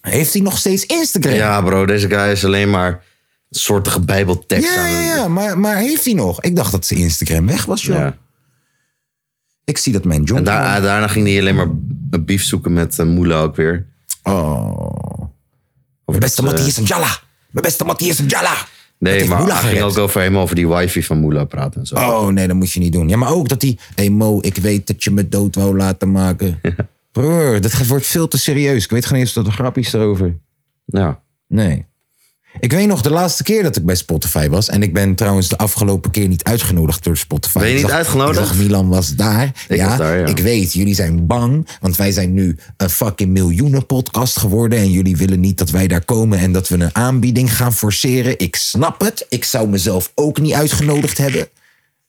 Heeft hij nog steeds Instagram? Ja, bro, deze guy is alleen maar soortige bijbeltekst ja, aan ja, het- ja, Maar, maar heeft hij nog? Ik dacht dat zijn Instagram weg was, joh. Ja. Ik zie dat mijn John... En daar- eh, daarna ging hij alleen maar een beef zoeken met eh, Moela ook weer. Oh. Mijn dat, beste eh, Mattie is een Jalla. Mijn beste Mattie is een Jalla. Nee, heeft maar Moela hij ging gered. ook over helemaal over die wifi van Moela praten en zo. Oh, nee, dat moet je niet doen. Ja, maar ook dat hij... Hé hey Mo, ik weet dat je me dood wou laten <laughs> maken. Broer, dat ge- wordt veel te serieus. Ik weet geen eens dat er grapjes erover. Ja. Nee. Ik weet nog de laatste keer dat ik bij Spotify was. En ik ben trouwens de afgelopen keer niet uitgenodigd door Spotify. Ben je Ik niet zag- uitgenodigd? Ik zag Milan was daar. Ik ja, was daar, ja. Ik weet, jullie zijn bang. Want wij zijn nu een fucking miljoenenpodcast geworden. En jullie willen niet dat wij daar komen en dat we een aanbieding gaan forceren. Ik snap het. Ik zou mezelf ook niet uitgenodigd hebben.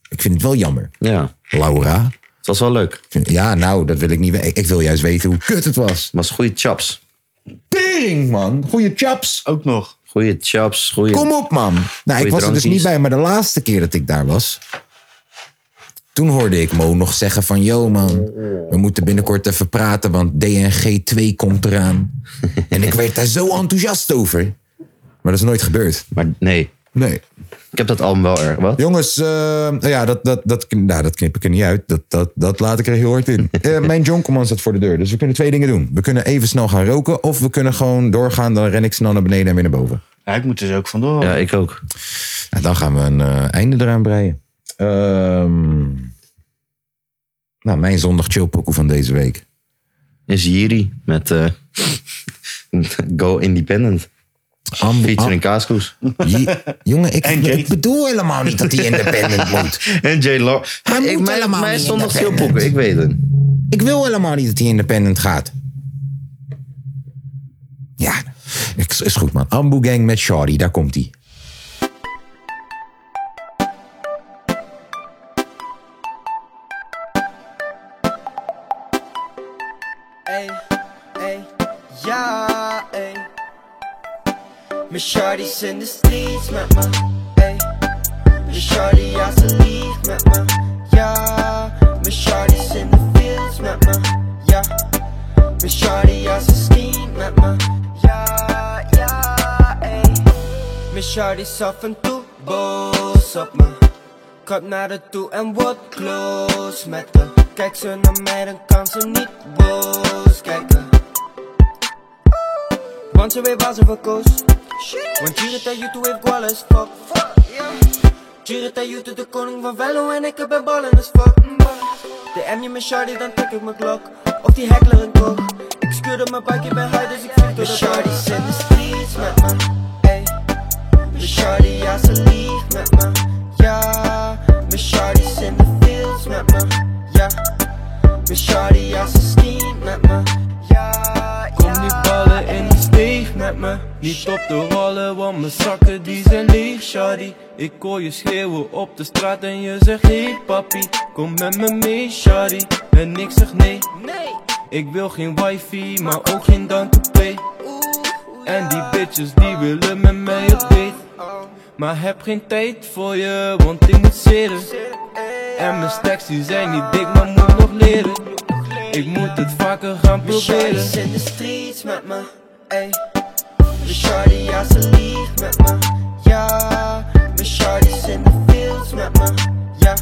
Ik vind het wel jammer. ja, Laura? het was wel leuk. Ik vind- Ja, nou, dat wil ik niet weten. Ik wil juist weten hoe kut het was. Het was goede chaps. Tering, man. Goeie chaps. Ook nog. Goede chaps, goede... Kom op, man. Nou, ik was er dus drankjes. niet bij, maar de laatste keer dat ik daar was. Toen hoorde ik Mo nog zeggen van... Yo man, we moeten binnenkort even praten, want DNG 2 komt eraan. En ik werd daar zo enthousiast over. Maar dat is nooit gebeurd. Maar nee, Nee. ik heb dat album wel erg. Wat? Jongens, eh, nou ja, dat, dat, dat, nou, dat knip ik er niet uit. Dat, dat, dat laat ik er heel hard in. Eh, mijn jonkelman staat voor de deur, dus we kunnen twee dingen doen. We kunnen even snel gaan roken of we kunnen gewoon doorgaan. Dan ren ik snel naar beneden en weer naar boven. Ja, ik moet dus ook Oh. vandoor. Ja, ik ook. Ja, dan gaan we een eh, einde eraan breien. Ehm, nou, mijn zondag chillpokoe van deze week. Is Jiri met eh, <laughs> Go Independent. Featuring Ah. Kaaskoes. Je- jongen, ik, En Jake. ik bedoel helemaal niet dat hij independent moet. <laughs> En J. Law. Hij moet mijn, helemaal mijn niet zondag independent. chillpokken, ik weet het. Ik wil helemaal niet dat hij independent gaat. Ja, ik- is goed man. Ambu Gang met Shawty, daar komt hij. Ey, ey, ja, ey. Mijn shorties in de streets met me, ey. Mijn shorty als ze lief met me, ja. Mijn shorties in de fields met me, ja. Mijn shorty als ze steam met me. Ja, ja, ey. Mijn shawty is af en toe boos op me. Kap naar de toe en wordt close met haar. Kijk ze naar mij, dan kan ze niet boos kijken. Want ze weet waar ze voor koos. Want Jurita Jutu heeft gual as fuck. Jurita Jutu, de koning van Vello en ik ben ballen as fuck. Mm, boy. DM je mijn shawty, dan trek ik mijn klok. Of die heckler een kok. Ik scheurde mijn buikje bij haar, dus ik vlieg door de shawty's in de streets met me. Ey. Mijn shawty, ja ze liegt met me. Ja, mijn shawty's in de fields met me. Ja, mijn shawty, ja ze steamt met me. Ja, ja. Kom niet ballen in die steeg met me Niet op de rollen, want mijn zakken die zijn leeg, shawty Ik hoor je schreeuwen op de straat en je zegt hey papi Kom met me mee, shawty En ik zeg nee, ik wil geen wifi, maar ook geen dankenpay En die bitches die willen met mij op date Maar heb geen tijd voor je, want ik moet zitten En mijn stacks die zijn niet dik, maar moet nog leren Ik moet het vaker gaan Mijn proberen shawty's in de streets met me, ey. Mijn shawty, ja, ze liegt met me, ja. Mijn shawty's in de fields met me, ja.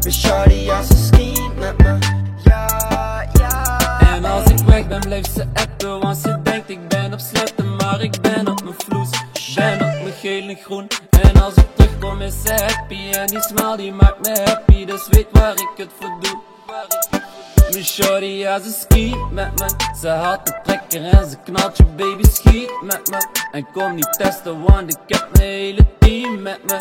Mijn shawty, ja, ze schemt met me, ja, ja. En als ik weg ben, blijft ze appen. Want ze denkt ik ben op sletten, maar ik ben op mijn vloes. Ben op mijn geel en groen. En als ik terugkom, is ze happy. En die smile die maakt me happy. Dus weet waar ik het voor doe. Mijn shorty, ja, ze skiet met me. Ze haalt de trekker en ze knalt je baby, schiet met me. En kom niet testen, want ik heb mijn hele team met me.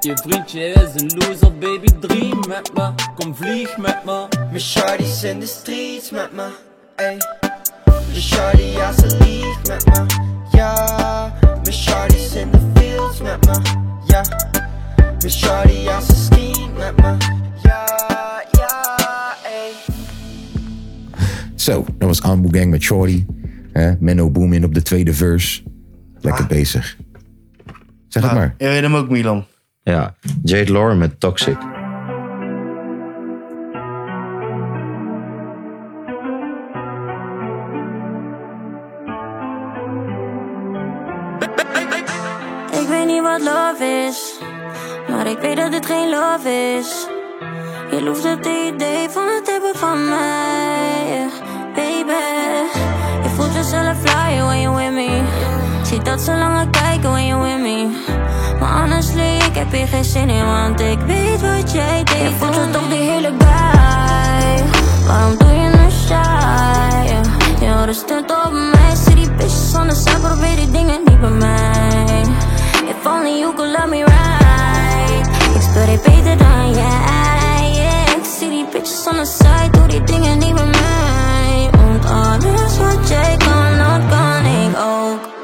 Je vriendje is een loser, baby, dream met me. Kom vlieg met me. Mijn shawty's in de streets met me, ey. Mijn shawty, ja, ze liegt met me, ja. Mijn shawty's in de fields met me, ja. Mijn shawty, ja, ze schemt met me, ja, ja, ey. Zo, dat was Ambu Gang met Shorty. Hè? Menno Boomin op de tweede verse. Lekker Ah. bezig. Zeg het maar. Je weet hem ook, Milan. Ja, Jade Lauren met Toxic. Ik weet niet wat love is, maar ik weet dat dit geen love is. Je loeft het idee van het hebben van mij, yeah, baby. Je voelt jezelf flyer when you with me. Zie dat ze langer kijken when you with me. Maar honestly, ik heb hier geen zin in, want ik weet wat jij deed. Je voelt het toch die hele guy. Waarom doe je nu shy? yeah? Je hoort stunt op mij, zie die bitches anders zijn, probeer die dingen niet bij mij. If only you could love me right. Ik speel dit beter dan jij. Yeah. Ik zie die bitches on the side, doe die dingen niet bij mij. Want alles wat jij kan, dat kan ik ook.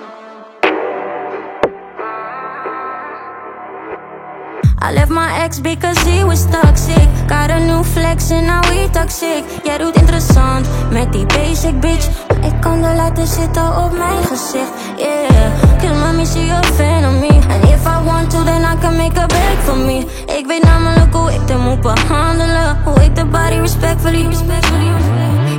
I left my ex because he was toxic. Got a new flex and now we toxic. Jij doet interessant met die basic bitch. Maar ik kan er laten zitten op mijn gezicht. Yeah, cause mommy see a fan of me. And if I want to, then I can make a break for me. Ik weet namelijk hoe ik de moet behandelen. Hoe ik de body respectfully, respectfully,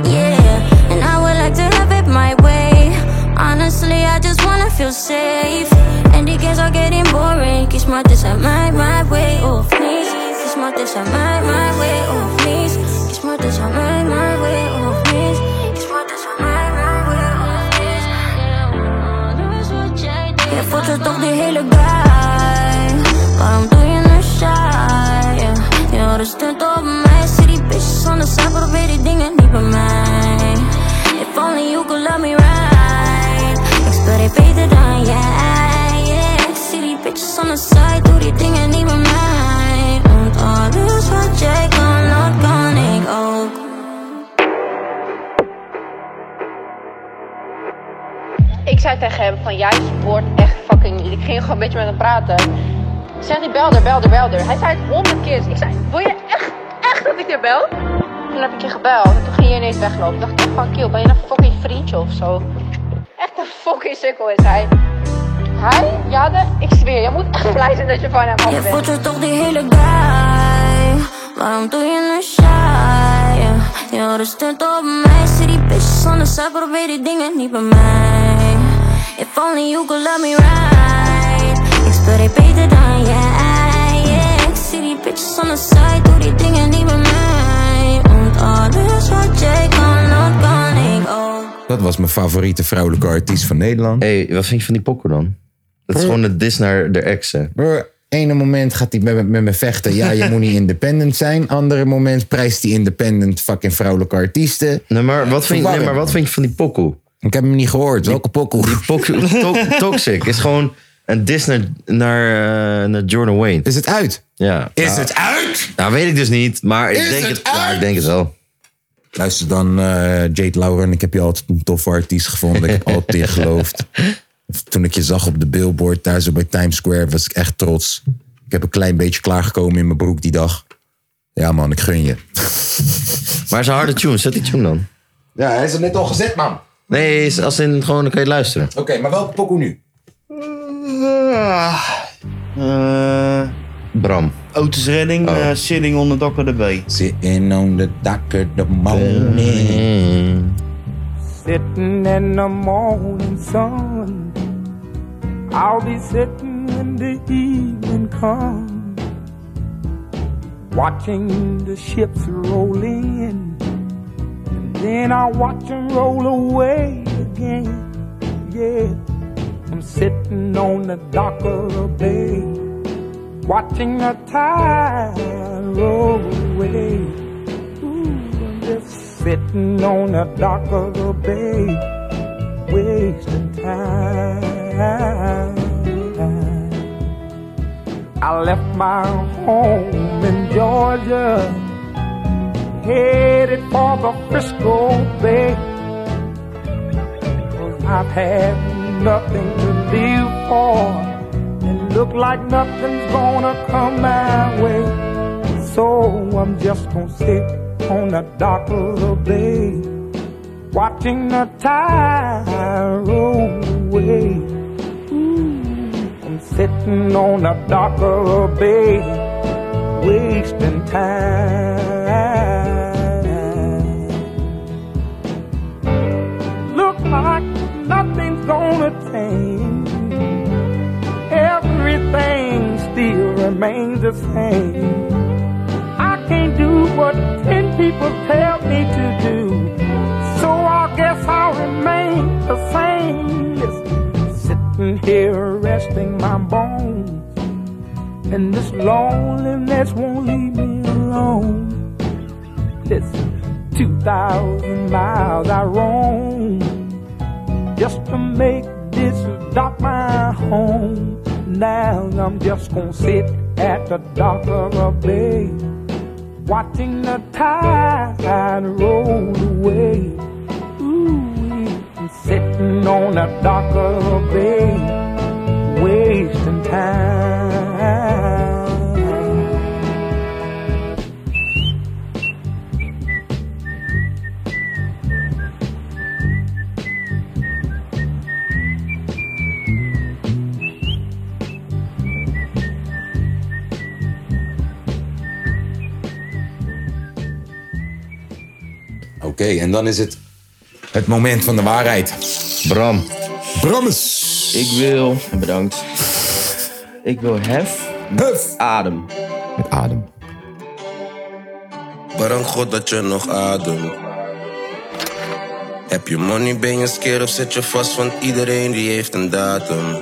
yeah. And I would like to have it my way. Honestly, I just wanna feel safe. And the games are getting boring. Kies maar, dit zijn mij, mijn way of niet. Kies maar, dit zijn mij, mijn way of niet. Kies maar, dit zijn mij, mijn way of niet. Kies maar, dit zijn mij, mijn way of niet. Yeah, alles wat jij deed. Je voelt je toch die hele guy. Waarom doe je nu shy? Yeah. Je hoort een stunt op mij. Zie die bitches anders zijn, probeer die dingen niet bij mij. If only you could love me right. Ik speel dit beter dan jij. uh, Yeah. Ik zie die bitches on the side, doe die dingen niet bij mij. Want alles wat jij kan, dat kan ik ook. Ik zei tegen hem van jij wordt echt fucking niet. Ik ging gewoon een beetje met hem praten. Zegt hij belder, belder, belder. Hij zei het honderd keer. Ik zei, wil je echt, echt dat ik je bel? Toen heb ik je gebeld. En toen ging je ineens weglopen. Toen dacht ik echt van, kill, ben je een fucking vriendje of zo? Echt een fucking sukkel is hij. Hij? Ja, de, ik zweer. Je moet echt blij zijn dat je van hem af Je bent. voelt je toch die hele guy Waarom doe je nu shy? Je stond op mij, zie die bitches on the side, probeer die dingen niet bij mij If only you could love me right Ik speel het beter dan jij yeah. Ik zie die bitches on the side, doe die dingen niet bij mij Want alles wat jij kan, dat kan ik ook Dat was mijn favoriete vrouwelijke artiest van Nederland. hey, wat vind je van die pokken dan? Dat is gewoon een dis naar de ex, hè? Bro, ene moment gaat hij met, met me vechten. Ja, <laughs> je moet niet independent zijn. Andere moment prijst hij independent fucking vrouwelijke artiesten. Nee, maar wat vind, je- nee, maar wat vind je van die pokkel? Ik heb hem niet gehoord. Welke pokkel? Die pokkel, to- toxic, is gewoon een dis naar, naar, eh, naar Jordan Wayne. Is het uit? Ja. Is Nou, het uit? Nou, weet ik dus niet, maar ik Is denk het het, ja, ik denk het wel. Luister dan, eh, Jade Lauren. Ik heb je altijd een toffe artiest gevonden. Ik <laughs> heb altijd in je geloofd. Toen ik je zag op de billboard daar zo bij Times Square, was ik echt trots. Ik heb een klein beetje klaargekomen in mijn broek die dag. Ja man, ik gun je. Maar het is een harde tune, zet die tune dan. Ja, hij is er net al gezet, man. Nee, is als in gewoon, dan kan je luisteren. Oké, maar welke pokoe nu? Eh, Bram. Otis Redding, eh, Sitting on the Dock of the Bay. Sitting on the Dock of the Morning. Sitting in the morning sun. I'll be sitting when the evening comes. Watching the ships roll in. And then I'll watch 'em roll away again. Yeah. I'm sitting on the dock of the bay. Watching the tide roll away. Ooh, I'm just sitting on the dock of the bay, wasting time. I left my home in Georgia, headed for the Frisco Bay. Cause I've had nothing to live for, and look like nothing's gonna come my way. So I'm just gonna sit on the dock of the bay, watching the tide roll away. Ooh, I'm sitting on the dock of the bay, wasting time. Look like nothing's gonna change. Everything still remains the same. I can't do what ten people tell me to do. So I guess I'll remain the same. Listen, sitting here resting my bones. And this loneliness won't leave me alone. Listen, 2,000 miles I roam just to make this dock my home. Now I'm just gonna sit at the dock of a bay, watching the tide roll away. Ooh, I'm sitting on the dock of a bay, wasting time. Oké, en dan is het het moment van de waarheid. Bram. Brammes. Ik wil, bedankt. Ik wil hef. Hef. Adem. Adem. Bedankt God dat je nog ademt. Heb je money, ben je scared of zit je vast? Want iedereen die heeft een datum.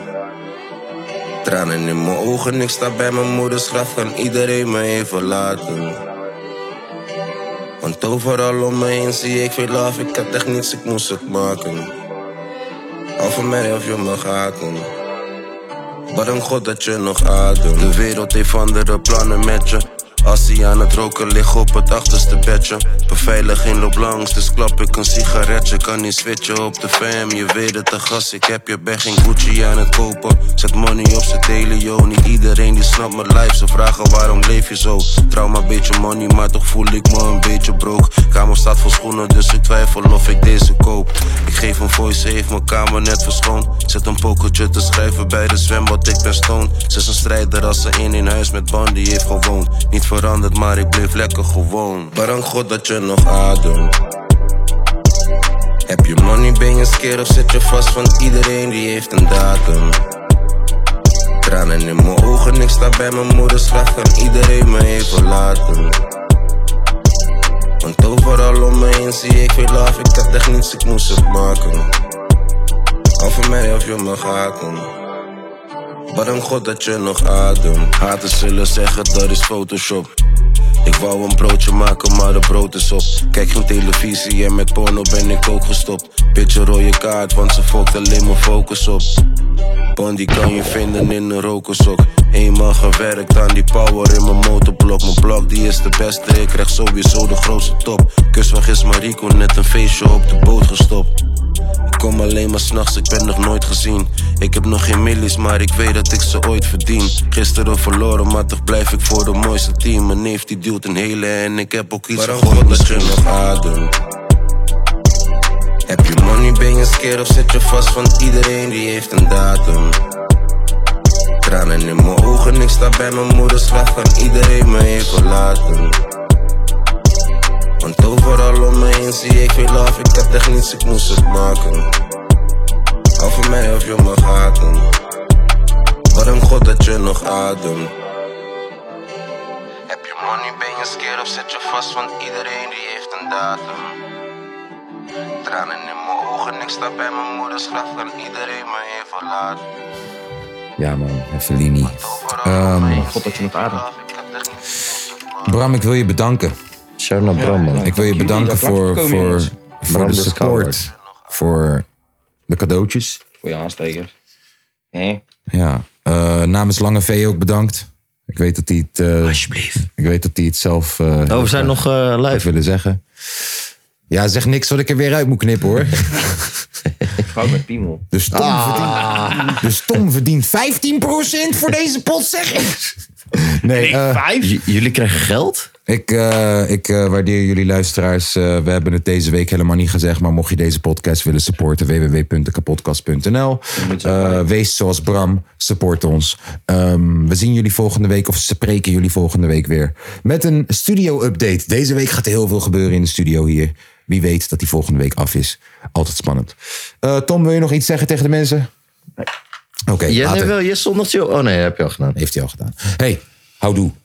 Tranen in mijn ogen, ik sta bij mijn moeders graf, kan iedereen me even laten. Want overal om me heen zie ik veel af, ik had echt niets, ik moest het maken. Al van mij of je me haken. Bedankt God dat je nog ademt. De wereld heeft andere plannen met je. Als hij aan het roken ligt op het achterste bedje. Beveiliging loopt langs, dus klap ik een sigaretje. Kan niet switchen op de fam, je weet het, de gas. Ik heb je bij geen Gucci aan het kopen. Zet money op zijn telio. Niet iedereen die snapt mijn life, ze vragen waarom leef je zo. Trauma, beetje money, maar toch voel ik me een beetje broke. Kamer staat vol schoenen, dus ik twijfel of ik deze koop. Ik geef een voice, heeft mijn kamer net verschoond. Zet een pokertje te schrijven bij de zwembad, ik ben stoned. Ze is een strijder als ze in in huis met Bandy heeft gewoond. Niet veranderd veranderd, maar ik bleef lekker gewoon. Bedankt God dat je nog ademt. Heb je money, ben je skeer of zit je vast van iedereen die heeft een datum? Tranen in mijn ogen, ik sta bij mijn moeder, slecht kan iedereen me even laten. Want overal om me heen zie ik veel af, ik had echt niets, ik moest het maken. Al van mij of je me haken. Waarom God dat je nog ademt? Haters zullen zeggen dat is Photoshop. Ik wou een broodje maken, maar de brood is op. Kijk geen televisie en met porno ben ik ook gestopt. Beetje rode kaart, want ze fokt alleen mijn focus op. Bondi kan je vinden in een rokersok. Eenmaal gewerkt aan die power in mijn motorblok. Mijn blok die is de beste, ik krijg sowieso de grootste top. Kus van gis Marico, net een feestje op de boot gestopt. Ik kom alleen maar s'nachts, ik ben nog nooit gezien. Ik heb nog geen millies, maar ik weet dat ik ze ooit verdien. Gisteren verloren, maar toch blijf ik voor de mooiste team. Mijn neef die duwt een hele en ik heb ook iets gehoord dat je nog ademt. Heb je money, ben je scared of zit je vast van iedereen die heeft een datum? Tranen in mijn ogen, ik sta bij mijn moeder, slecht kan iedereen me even laten. Want overal om me heen zie ik veel af, ik had echt niets, ik moest het maken. Hou van mij of je me haten. Waarom God dat je nog ademt? Heb je money, ben je scared of zit je vast van iedereen die heeft een datum? Tranen in mijn ogen, ik sta bij mijn moeders graf, kan iedereen me even laten. Ja man, Evelini. Ehm God dat je nog ademt. Bram, ik wil je bedanken. Shout naar Bram, man. Ik wil je Dank jullie bedanken dat langs voor, gekomen, voor, jongens. voor Bram de de support. Voor de cadeautjes. Voor je aansteker. Nee. Ja. eh, namens Lange V ook bedankt. Ik weet dat hij het... Alsjeblieft. Ik weet dat hij het zelf... eh, Oh, we zijn nog eh, had live. willen zeggen. Ja, zeg niks wat ik er weer uit moet knippen <laughs> hoor. Goud met piemel. Dus Tom, verdient, dus Tom verdient 15% voor deze pot, zeg ik. Nee, eh, vijf? jullie krijgen geld? Ik, eh, ik eh, waardeer jullie luisteraars. Eh, we hebben het deze week helemaal niet gezegd. Maar mocht je deze podcast willen supporten, www.dekapodcast.nl. Eh, wees zoals Bram. Support ons. Ehm, we zien jullie volgende week of spreken jullie volgende week weer. Met een studio-update. Deze week gaat er heel veel gebeuren in de studio hier. Wie weet dat die volgende week af is. Altijd spannend. Eh, Tom, wil je nog iets zeggen tegen de mensen? Oké, Jij later. wel, je zondag chill. Oh nee, heb je al gedaan. Heeft hij al gedaan. Hey, houdoe.